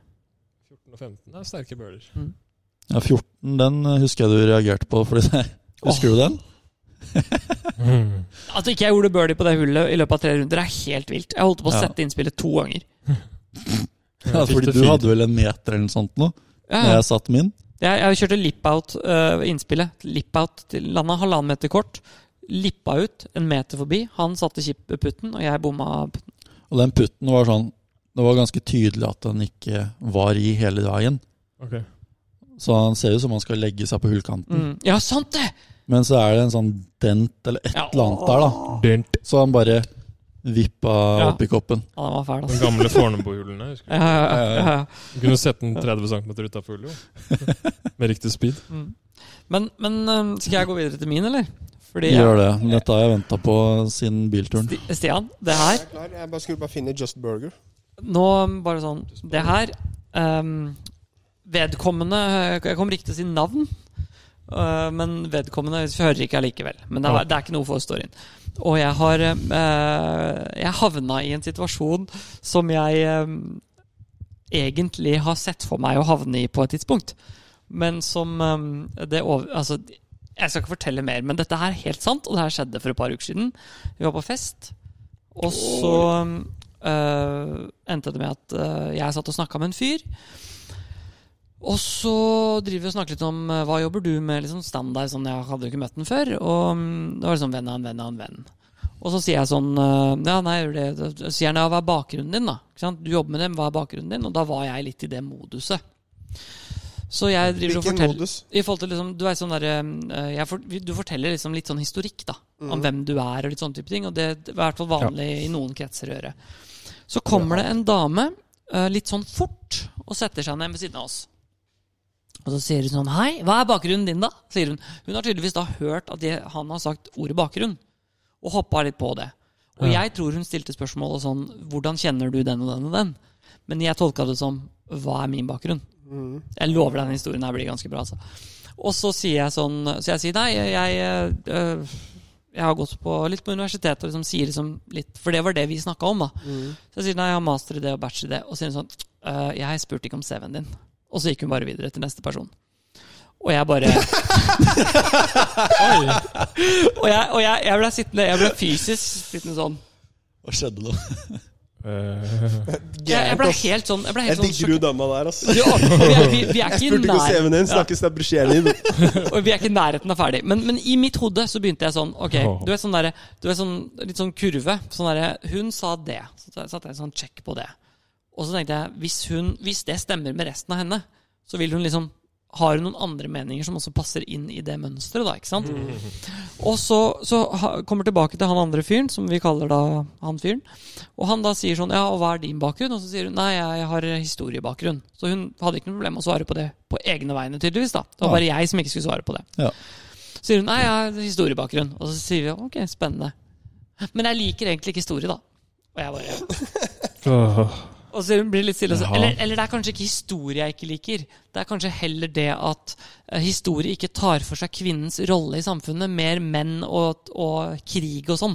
Speaker 2: 14 og 15 det er sterke bøler.
Speaker 1: Mm.
Speaker 3: Ja, 14, den eh, husker jeg du reagerte på. Fordi, husker du den?
Speaker 1: At ikke jeg gjorde birdie på det hullet i løpet av tre runder, er helt vilt. Jeg holdt på å
Speaker 3: Ja.
Speaker 1: sette inn spillet to ganger.
Speaker 3: Ja, fordi du hadde vel en meter eller noe sånt nå,
Speaker 1: Ja,
Speaker 3: når
Speaker 1: ja.
Speaker 3: jeg satt min.
Speaker 1: Jeg, jeg kjørte lip-out øh, innspillet. Lip-out til landa halvannen meter kort. Lippa ut en meter forbi. Han satte chip putten, og jeg bomma putten.
Speaker 3: Og den putten var sånn Det var ganske tydelig at den ikke var i hele veien.
Speaker 2: Ok.
Speaker 3: Så han ser ut som han skal legge seg på hullkanten.
Speaker 1: Mm. Ja, sant det!
Speaker 3: Men så er det en sånn dent eller et
Speaker 1: Ja.
Speaker 3: eller annet der, da.
Speaker 2: Dynt.
Speaker 3: Så han bare vippa
Speaker 1: Ja.
Speaker 3: opp i koppen.
Speaker 1: Ja, den var fæl,
Speaker 2: De
Speaker 1: altså.
Speaker 2: gamle Fornebu-hjulene. husker
Speaker 1: Ja, ja, ja, ja, ja.
Speaker 2: Du Du kunne sett den 30 cm utafor hullet. jo. Med riktig speed.
Speaker 1: Mm. Men, men øhm, skal jeg gå videre til min, eller? Fordi jeg-
Speaker 3: Gjør det. Dette har jeg venta på siden bilturen.
Speaker 1: Sti- Stian, det her
Speaker 4: Jeg er klar. Jeg bare skulle bare finne Just Burger.
Speaker 1: Nå um, bare sånn Det her um, Vedkommende Jeg kommer ikke til å si navn, uh, men vedkommende hører ikke allikevel. Men det er, det er ikke noe for storyen. Og jeg har eh, Jeg havna i en situasjon som jeg eh, egentlig har sett for meg å havne i på et tidspunkt. Men som eh, det over... Altså, jeg skal ikke fortelle mer, men dette her er helt sant, og det her skjedde for et par uker siden. Vi var på fest, og så eh, endte det med at eh, jeg satt og snakka med en fyr. Og så driver vi og snakker litt om eh, hva jobber du med, liksom standard, sånn jeg hadde jo ikke møtt den før. Og mm, det var liksom venn av en venn av en venn. Og så sier jeg sånn eh, Ja, nei, jeg gjør det. Så sier han ja, hva er bakgrunnen din, da? Ikke sant? Du jobber med dem, hva er bakgrunnen din? Og da var jeg litt i det moduset. Så jeg driver og
Speaker 4: Hvilken
Speaker 1: forteller
Speaker 4: modus?
Speaker 1: I forhold til liksom, Du er sånn derre eh, jeg for, Du forteller liksom litt sånn historikk, da. Om hvem du er og litt sånne type ting. Og det det er i hvert fall vanlig i noen kretser å gjøre. Så kommer det en dame eh, litt sånn fort og setter seg ned ved siden av oss. Og så sier hun sånn Hei, hva er bakgrunnen din, da? sier hun. Hun har tydeligvis da hørt at jeg, han har sagt ordet bakgrunn, og hoppa litt på det. Og jeg tror hun stilte spørsmålet sånn Hvordan kjenner du den og den og den? Men jeg tolka det som Hva er min bakgrunn? Jeg lover deg, den historien her blir ganske bra, altså. Og så sier jeg sånn Så jeg sier nei, jeg eh, øh, jeg har gått på litt på universitetet og liksom sier liksom litt For det var det vi snakka om, da.
Speaker 4: Mm.
Speaker 1: Så jeg sier nei, jeg har master i det og bachelor i det. Og så sier hun sånn «Øh, Jeg spurte ikke om CV-en din. Og så gikk hun bare videre til neste person. Og jeg bare Og, jeg, og jeg, jeg ble sittende Jeg ble fysisk sittende sånn.
Speaker 3: Hva skjedde da?
Speaker 1: Eh. Jeg, jeg ble helt sånn Jeg ble
Speaker 4: Jeg
Speaker 1: helt sånn
Speaker 4: digger jo dama der, ass.
Speaker 1: sjokkert. Vi, er- vi, vi er
Speaker 4: Jeg
Speaker 1: ikke i
Speaker 4: spurte ikke om
Speaker 1: nær-
Speaker 4: CV-en din,
Speaker 1: Ja.
Speaker 4: snakkes det er brosjeren din.
Speaker 1: Og vi er ikke i nærheten av ferdig. Men, men i mitt hode så begynte jeg sånn Ok, du vet sånn derre Du vet sånn litt sånn kurve. Sånn derre Hun sa det. Så da satte jeg en sånn check på det. Og så tenkte jeg hvis, hun, hvis det stemmer med resten av henne, så vil hun liksom har hun noen andre meninger som også passer inn i det mønsteret? da, ikke sant? Og så, så ha- kommer tilbake til han andre fyren, som vi kaller da han fyren. Og han da sier sånn Ja, og hva er din bakgrunn? Og så sier hun nei, jeg har historiebakgrunn. Så hun hadde ikke noe problem med å svare på det på egne vegne, tydeligvis. da. Det var bare jeg som ikke skulle svare på det.
Speaker 3: Ja.
Speaker 1: Så sier hun nei, jeg har historiebakgrunn. Og så sier vi ok, spennende. Men jeg liker egentlig ikke historie, da. Og jeg bare og så blir det litt stille. og så-
Speaker 2: Jaha.
Speaker 1: Eller, eller det er kanskje ikke historie jeg ikke liker. Det er kanskje heller det at eh, historie ikke tar for seg kvinnens rolle i samfunnet. Mer menn og, og krig og sånn.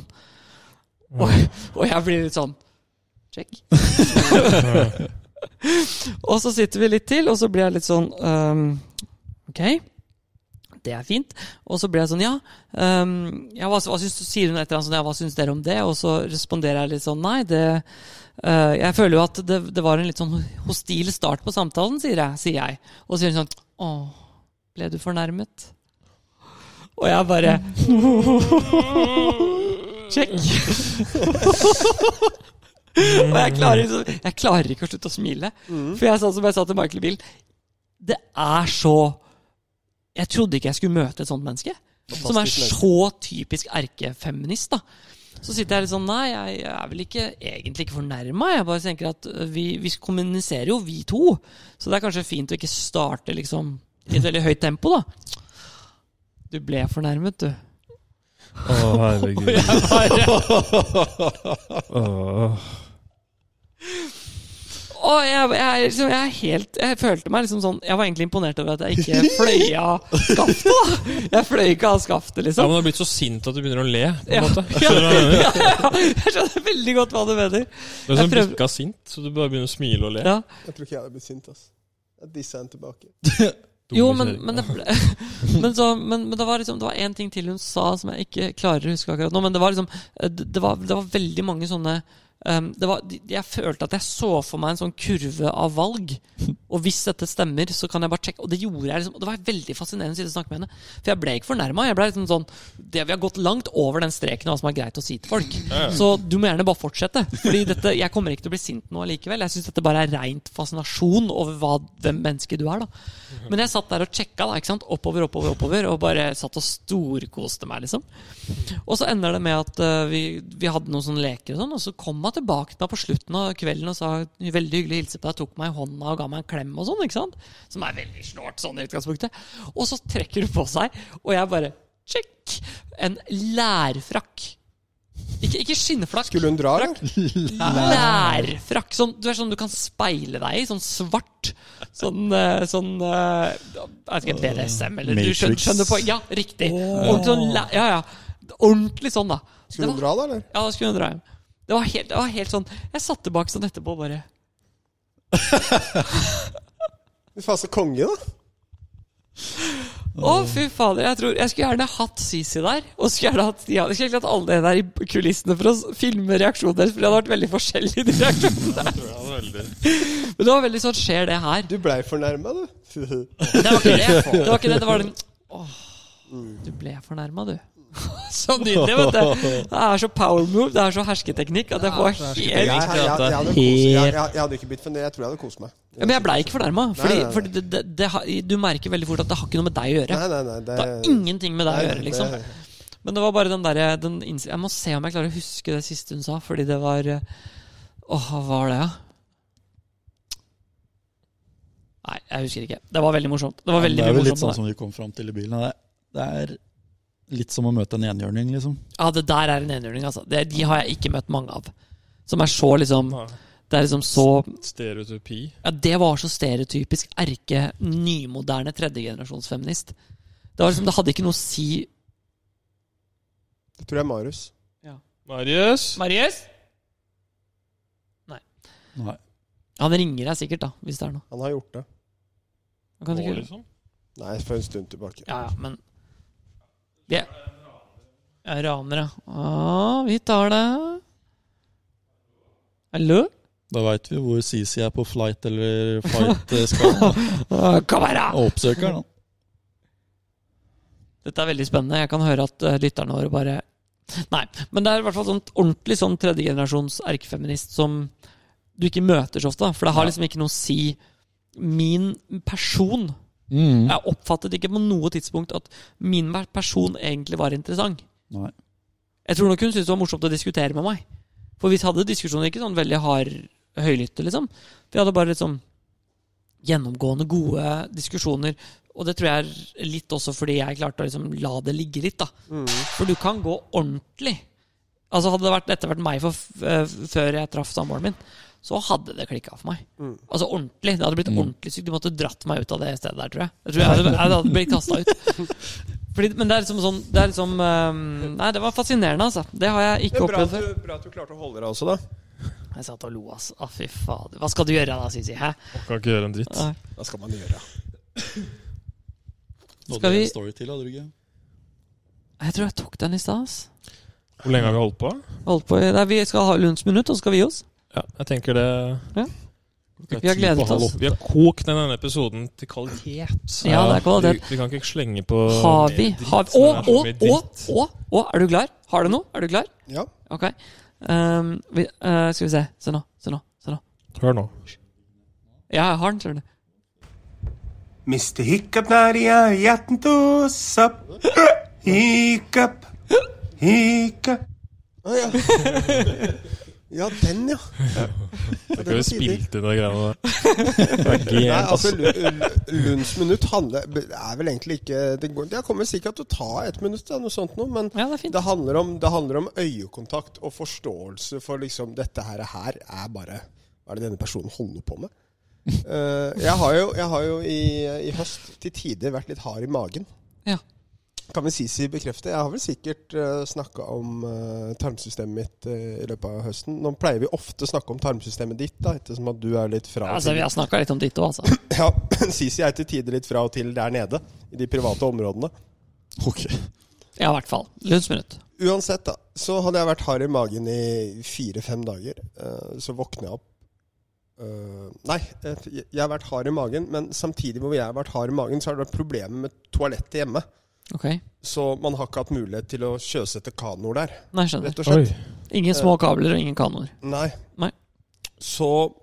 Speaker 1: Og, og jeg blir litt sånn Check. og så sitter vi litt til, og så blir jeg litt sånn ehm, Ok, det er fint. Og så blir jeg sånn Ja, ehm, ja hva, hva syns, sier hun et eller annet sånn Ja, hva syns dere om det? Og så responderer jeg litt sånn Nei, det Eh, jeg føler jo at det, det var en litt sånn hostil start på samtalen, sier jeg. Sier jeg. Og så sier hun sånn Å, ble du fornærmet? Og jeg bare Check. og jeg klarer, liksom- jeg klarer ikke å slutte å smile. For jeg sa som jeg sa til Michael Bill Det er så Jeg trodde ikke jeg skulle møte et sånt menneske. Som er så typisk erkefeminist, da. Så sitter jeg litt sånn Nei, jeg, jeg er vel ikke, egentlig ikke fornærma. Jeg bare tenker at øh, vi, vi kommuniserer jo, vi to. Så det er kanskje fint å ikke starte liksom i et veldig høyt tempo, da. Du ble fornærmet, du.
Speaker 2: Å, herregud. Åh.
Speaker 1: Å, jeg, jeg, liksom, jeg, er helt, jeg følte meg liksom sånn Jeg var egentlig imponert over at jeg ikke fløy av skaftet. da. Jeg fløy ikke av skaftet,
Speaker 2: Ja,
Speaker 1: liksom.
Speaker 2: men du har blitt så sint at du begynner å le. på en
Speaker 1: Ja.
Speaker 2: måte. Skjønner du hva jeg mener?
Speaker 1: Jeg skjønner veldig godt hva du mener.
Speaker 2: Du er
Speaker 1: Jeg
Speaker 2: sånn
Speaker 1: prøver-
Speaker 2: bikka sint, så du bare begynner å smile og le.
Speaker 1: Ja.
Speaker 4: Jeg tror ikke jeg hadde blitt sint, ass. Jeg dissa henne tilbake.
Speaker 2: Dumme
Speaker 1: Jo, men,
Speaker 2: kjerring.
Speaker 1: men, det, ble- men, så, men, men det var liksom Det var én ting til hun sa som jeg ikke klarer å huske akkurat nå. Men det var liksom eh, Det det var, det var veldig mange sånne ehm, det var, de- Jeg følte at jeg så for meg en sånn kurve av valg. Og hvis dette stemmer, så kan jeg bare sjekke. Og det gjorde jeg liksom og Det var veldig fascinerende å sitte og snakke med henne. For jeg ble ikke fornærma. Jeg ble liksom sånn det, Vi har gått langt over den streken av hva som er greit å si til folk. Så du må gjerne bare fortsette. Fordi dette, jeg kommer ikke til å bli sint nå allikevel. Jeg syns dette bare er reint fascinasjon over hva, hvem menneske du er, da. Men jeg satt der og sjekka da, ikke sant? oppover, oppover, oppover, og bare satt og storkoste meg, liksom. Og så ender det med at eh, vi, vi hadde noen sånne leker og sånn, og så kom hun tilbake til meg på slutten av kvelden og sa veldig hyggelig hilse på deg, tok meg i hånda og ga meg en klem og sånn, ikke sant? Som er veldig snålt sånn i utgangspunktet. Og så trekker hun på seg, og jeg bare Sjekk! En lærfrakk. Ikke, ikke skinnflakk.
Speaker 4: Skulle hun dra, eller?
Speaker 1: Lærfrakk. Sånn, du er sånn du kan speile deg i. Sånn svart. Sånn, eh, sånn eh, Jeg vet ikke, BDSM eller du skjønner,
Speaker 3: Matrix.
Speaker 1: skjønner på, Ja, riktig. Ordentlig, sånn, læ- ja, ja. Ordentlig sånn, da.
Speaker 4: Skulle
Speaker 1: Det
Speaker 4: du dra, da? eller?
Speaker 1: Ja, da skulle hun dra hjem. Det var helt, det var helt sånn Jeg satt tilbake sånn etterpå og bare
Speaker 4: Du faen, så konge, da.
Speaker 1: Å, fy fader. Jeg tror Jeg skulle gjerne hatt Sisi der. Og skulle gjerne hatt Stian. Jeg skulle egentlig hatt alle de der i kulissene for å s- filme reaksjonen deres, for det hadde vært veldig forskjellig. De reaksjonene der. Men det var veldig sånn Skjer det her?
Speaker 4: Du blei fornærma, du.
Speaker 1: Det var ikke det. Det var ikke det. Det var den Åh,
Speaker 4: Mm.
Speaker 1: du ble fornærma, du. Så nydelig, vet du. Det er så power move, det er så hersketeknikk at jeg får
Speaker 4: Jeg,
Speaker 1: helt
Speaker 4: jeg, jeg, jeg, hadde koset, jeg, jeg, jeg hadde ikke blitt fornærma. Jeg tror jeg hadde kost meg.
Speaker 1: Ja, Men jeg blei ikke fornærma. Fordi,
Speaker 4: nei, nei.
Speaker 1: fordi det, det, det, har- du merker veldig fort at det har ikke noe med deg å gjøre.
Speaker 4: Nei, nei, nei. Det,
Speaker 1: Det har ingenting med deg å
Speaker 4: nei,
Speaker 1: gjøre, liksom.
Speaker 4: det-
Speaker 1: Men det var bare den derre den inns- Jeg må se om jeg klarer å huske det siste hun sa, fordi det var eh, Åh, hva var det, ja? Nei, jeg husker ikke. Det var veldig morsomt. Det var veldig
Speaker 3: det er
Speaker 1: mye
Speaker 3: vel litt sånn
Speaker 1: morsomt.
Speaker 3: som vi kom fram til i bilen. Det er, det er litt som å møte en enhjørning, liksom.
Speaker 1: der. Ja, det der er en enhjørning, altså. Det, de har jeg ikke møtt mange av. Som er så liksom
Speaker 2: Nei.
Speaker 1: Det er liksom så
Speaker 2: Sånn, Stereotypi.
Speaker 1: Ja, det var så stereotypisk erke nymoderne tredjegenerasjonsfeminist. Det var liksom Det hadde ikke noe å si
Speaker 4: det tror jeg er Marius.
Speaker 2: Marius.
Speaker 1: Marius?
Speaker 3: Nei.
Speaker 1: Han ringer deg sikkert, da, hvis det er noe.
Speaker 4: Han har gjort det.
Speaker 1: Han kan ikke...
Speaker 2: liksom.
Speaker 4: Nei, for en stund tilbake.
Speaker 1: Ja, ja, men Vi- Ja, ranere. Å, vi tar det. Hallo?
Speaker 3: Da veit vi hvor CC er på flight eller eh, fight-skala.
Speaker 1: Å, Kom her, da!
Speaker 3: Og oppsøker den.
Speaker 1: Dette er veldig spennende. Jeg kan høre at eh, lytterne våre bare Nei. Men det er i hvert fall sånn ordentlig sånn tredjegenerasjons erkefeminist som du ikke møter så ofte. da. For det har liksom ikke noe å si. Min person
Speaker 3: Mm.
Speaker 1: Jeg oppfattet ikke på noe tidspunkt at min person egentlig var interessant.
Speaker 3: Nei.
Speaker 1: Jeg tror nok hun syntes det var morsomt å diskutere med meg. For vi hadde diskusjoner ikke sånn veldig hard høylytte, liksom. Vi hadde bare liksom gjennomgående gode diskusjoner. Og det tror jeg er litt også fordi jeg klarte å liksom la det ligge litt, da.
Speaker 4: Mm.
Speaker 1: For du kan gå ordentlig. Altså Hadde det vært, dette vært meg for, f- eh, før jeg traff samboeren min, så hadde det klikka for meg.
Speaker 4: Mm.
Speaker 1: Altså ordentlig. Det hadde blitt ordentlig sykt. Du måtte dratt meg ut av det stedet der, tror jeg. Jeg tror jeg hadde, jeg hadde blitt kasta ut. Fordi, men det er liksom sånn det er liksom, ehm, Nei, det var fascinerende, altså. Det har jeg
Speaker 4: Det
Speaker 1: ikke
Speaker 4: er bra at,
Speaker 1: opplevd før.
Speaker 4: du, bra at du klarte å holde deg også, da.
Speaker 1: Jeg satt og lo, altså. Å, fy fader. Hva skal du gjøre da, Sisi? Hæ?
Speaker 2: Kan ikke gjøre en dritt.
Speaker 1: Nei.
Speaker 4: Hva skal man gjøre?
Speaker 3: Du
Speaker 1: Skal
Speaker 3: hadde
Speaker 1: vi-
Speaker 3: en story til, hadde du ikke?
Speaker 1: Jeg tror jeg tok den i stad, ass.
Speaker 2: Hvor lenge har vi holdt på?
Speaker 1: Holdt på i- Nei, vi skal ha lunsjminutt, og så skal vi gi oss.
Speaker 2: Ja, jeg tenker det
Speaker 1: Vi har gledet oss.
Speaker 2: Vi har kokt ned denne episoden til kvalitet.
Speaker 1: Ja, det er kvalitet.
Speaker 2: Du, du kan ikke slenge på
Speaker 1: Har vi Har vi Å, å, å, å, å! Er du klar? Har du noe? Er du klar?
Speaker 4: Ja.
Speaker 1: Ok. Ehm, vi, eh, skal vi se. Se nå. Se nå. Se nå.
Speaker 2: Hør nå.
Speaker 1: Ja, jeg har den, skjønner du.
Speaker 5: Mr. Hiccup Nadia, hjerten tos opp. Hiccup, hiccup.
Speaker 4: Ah, ja. ja, den, ja.
Speaker 2: Det er ikke vi spilt inn de greiene der.
Speaker 4: Nei, altså, Lu- Lu- Lunds minutt handler er vel egentlig ikke Det, går, det kommer sikkert til å ta et minutt, eller noe sånt, noe, men
Speaker 1: Ja, det er fint.
Speaker 4: handler om, det handler om øyekontakt og forståelse for liksom Dette her, her er bare Hva er det denne personen holder på med? Eh, jeg har jo, jeg har jo i, i høst til tider vært litt hard i magen.
Speaker 1: Ja.
Speaker 4: Kan vel Sisi bekrefte? Jeg har vel sikkert uh, snakka om eh, tarmsystemet mitt eh, i løpet av høsten. Nå pleier vi ofte å snakke om tarmsystemet ditt, da, ettersom at du er litt fra og
Speaker 1: Altså,
Speaker 4: til-
Speaker 1: vi har snakka litt om ditt òg, altså.
Speaker 4: ja, Sisi er til tider litt fra og til der nede, i de private områdene.
Speaker 3: Ok.
Speaker 1: Ja, i hvert fall. Lunsjminutt.
Speaker 4: Uansett, da, så hadde jeg vært hard i magen i fire-fem dager. Eh, Så våkner jeg opp Eh, Nei, eh, jeg jeg har vært hard i magen, men samtidig hvor jeg har vært hard i magen, så har det vært problemer med toalettet hjemme.
Speaker 1: Ok. Nei,
Speaker 4: Så man har ikke hatt mulighet til å sjøsette kanoer der,
Speaker 1: jeg skjønner.
Speaker 4: rett og slett.
Speaker 1: Ingen små kabler og ingen kanoer.
Speaker 4: Nei.
Speaker 1: Nei.
Speaker 4: Så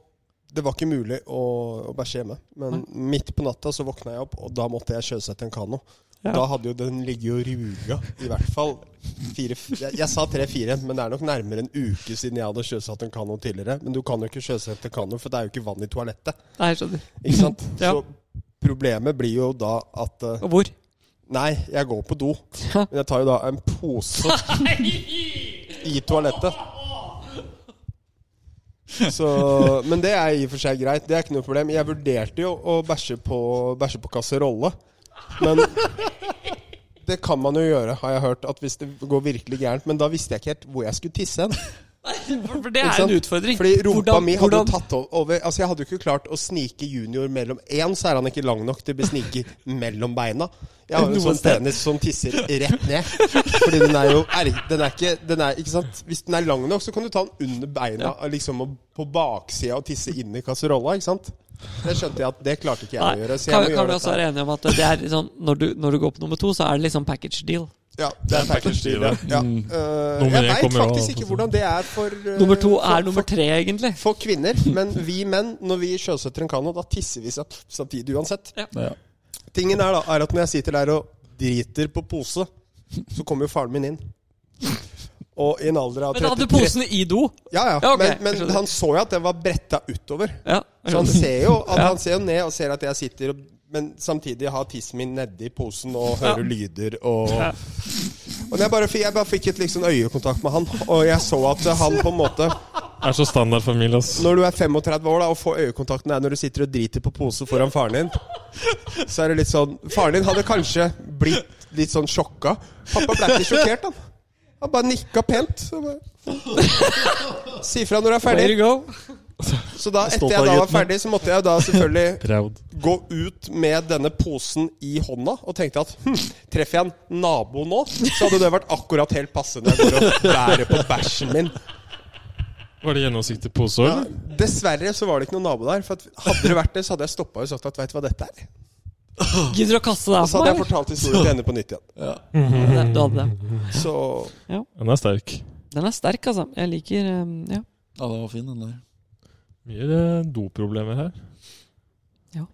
Speaker 4: det var ikke mulig å, å bæsje hjemme. Men midt på natta så våkna jeg opp, og da måtte jeg sjøsette en kano.
Speaker 1: Ja.
Speaker 4: Da hadde jo den ligget og ruga, i hvert fall. Fire, jeg, jeg sa tre-fire, men det er nok nærmere en uke siden jeg hadde sjøsatt en kano tidligere. Men du kan jo ikke sjøsette kano, for det er jo ikke vann i toalettet.
Speaker 1: Nei, jeg skjønner.
Speaker 4: Ikke sant?
Speaker 1: Ja.
Speaker 4: Så problemet blir jo da at eh,
Speaker 1: Og hvor?
Speaker 4: Nei, jeg går på do.
Speaker 1: Ja.
Speaker 4: Men jeg tar jo da en pose i toalettet. Så, men det er i og for seg greit. Det er ikke noe problem. Jeg vurderte jo å bæsje på, bæsje på kasserolle. Men det kan man jo gjøre, har jeg hørt. At hvis det går virkelig gærent. Men da visste jeg ikke helt hvor jeg skulle tisse hen.
Speaker 1: For for det
Speaker 4: Ikke
Speaker 1: er
Speaker 4: sant?
Speaker 1: en utfordring.
Speaker 4: Fordi rumpa
Speaker 1: Hvordan-
Speaker 4: mi hadde jo
Speaker 1: hvordan-
Speaker 4: tatt o- over Altså Jeg hadde jo ikke klart å snike junior mellom Én, så er han ikke lang nok til å besnike mellom beina. Jeg har jo en
Speaker 1: Noen
Speaker 4: sånn
Speaker 1: sted.
Speaker 4: penis som tisser rett ned. Fordi den er jo er, Den er ikke Den er Ikke sant? Hvis den er lang nok, så kan du ta den under beina liksom og på baksida og tisse inn i kasserolla, ikke sant? Det skjønte jeg at det klarte ikke jeg å gjøre.
Speaker 1: Nei,
Speaker 4: Så jeg
Speaker 1: kan,
Speaker 4: må
Speaker 1: kan vi
Speaker 4: gjøre
Speaker 1: også
Speaker 4: dette.
Speaker 1: være enige om at det er litt sånn, når, du, når du går på nummer to, så er det liksom package deal.
Speaker 4: Ja, det er package deal. Ja. Ja. Eh,
Speaker 2: Nummer
Speaker 4: jeg
Speaker 2: én
Speaker 4: veit
Speaker 2: kommer jo
Speaker 4: faktisk
Speaker 2: av-
Speaker 4: ikke hvordan det er for eh,
Speaker 1: Nummer to
Speaker 4: for-
Speaker 1: er nummer tre, egentlig.
Speaker 4: for kvinner, men vi menn, når vi sjøsetter en kano, da tisser vi sat- samtidig uansett.
Speaker 3: Ja.
Speaker 4: Tingen er da, er at når jeg sitter der og driter på pose, så kommer jo faren min inn. Og i en alder av
Speaker 1: Men hadde
Speaker 4: 33
Speaker 1: posene i do?
Speaker 4: Ja, ja.
Speaker 1: Ja, ok,
Speaker 4: men,
Speaker 1: jeg
Speaker 4: men
Speaker 1: skjønner.
Speaker 4: han så jo at den var bretta utover.
Speaker 1: Ja.
Speaker 4: Så han Sånn ser jo at
Speaker 1: Ja.
Speaker 4: han ser jo ned og ser at jeg sitter og men samtidig har tissen min nedi posen og hører lyder og Og jeg bare, fikk- jeg bare fikk et liksom øyekontakt med han, og jeg så at han på en måte
Speaker 2: Er så standardfamilie, ass.
Speaker 4: når du er 35 år da, og får øyekontakten der når du sitter og driter på pose foran faren din, så er det litt sånn Faren din hadde kanskje blitt litt sånn sjokka. Pappa ble ikke sjokkert, han. Han bare nikka pent. så Bare... Si fra når du er
Speaker 1: There
Speaker 4: ferdig.
Speaker 1: you go.
Speaker 4: Så da, etter
Speaker 3: Stolt av
Speaker 4: jeg da var
Speaker 3: gutten.
Speaker 4: ferdig, så måtte jeg da selvfølgelig
Speaker 2: Proud.
Speaker 4: gå ut med denne posen i hånda og tenkte at hm, treffer jeg en nabo nå, så hadde det vært akkurat helt passe når jeg går og bærer på bæsjen min.
Speaker 2: Var det gjennomsiktig pose,
Speaker 4: Ja,
Speaker 2: eller?
Speaker 4: Dessverre så var det ikke noen nabo der. For at Hadde det vært det, så hadde jeg stoppa og sagt at veit du hva dette er?
Speaker 1: Gidder du å kaste deg
Speaker 4: Og så hadde jeg
Speaker 1: på meg?
Speaker 4: fortalt historien til henne på nytt igjen.
Speaker 1: Nei, Du hadde det.
Speaker 4: Så
Speaker 2: Den er sterk.
Speaker 1: Den er sterk, altså. Jeg liker um, Ja.
Speaker 3: ja, det var fin, den der.
Speaker 2: Mye eh, doproblemer her.
Speaker 1: Ja.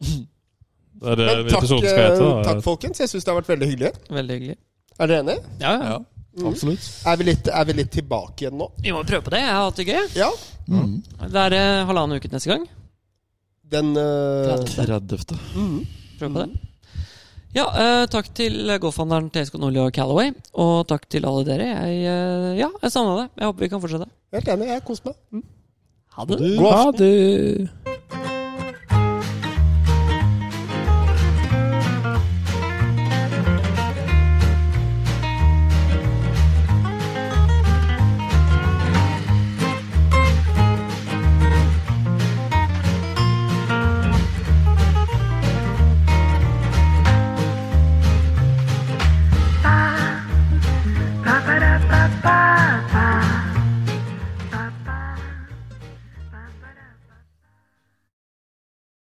Speaker 2: Det er det
Speaker 4: Men takk,
Speaker 2: episoden skal
Speaker 4: eh,
Speaker 2: hete. da.
Speaker 4: takk, folkens. Jeg syns det har vært veldig hyggelig.
Speaker 1: Veldig hyggelig.
Speaker 4: Er dere enige?
Speaker 1: Ja, ja.
Speaker 3: Ja, absolutt.
Speaker 4: Er vi litt, er vi litt tilbake igjen nå?
Speaker 1: Vi må prøve på det. Jeg har hatt det gøy.
Speaker 4: Ja.
Speaker 3: Mm.
Speaker 1: Det er eh, halvannen uke neste gang.
Speaker 4: Den eh,
Speaker 3: 30.
Speaker 1: Prøv på
Speaker 4: Mm.
Speaker 1: det. Ja, eh, takk til golfhandleren TSK Nordli og Callaway. Og takk til alle dere. Jeg, eh, ja, jeg savna det. Jeg håper vi kan fortsette.
Speaker 4: Helt enig. Jeg koser meg.
Speaker 1: Ha det.
Speaker 4: God aften.
Speaker 2: Ha det.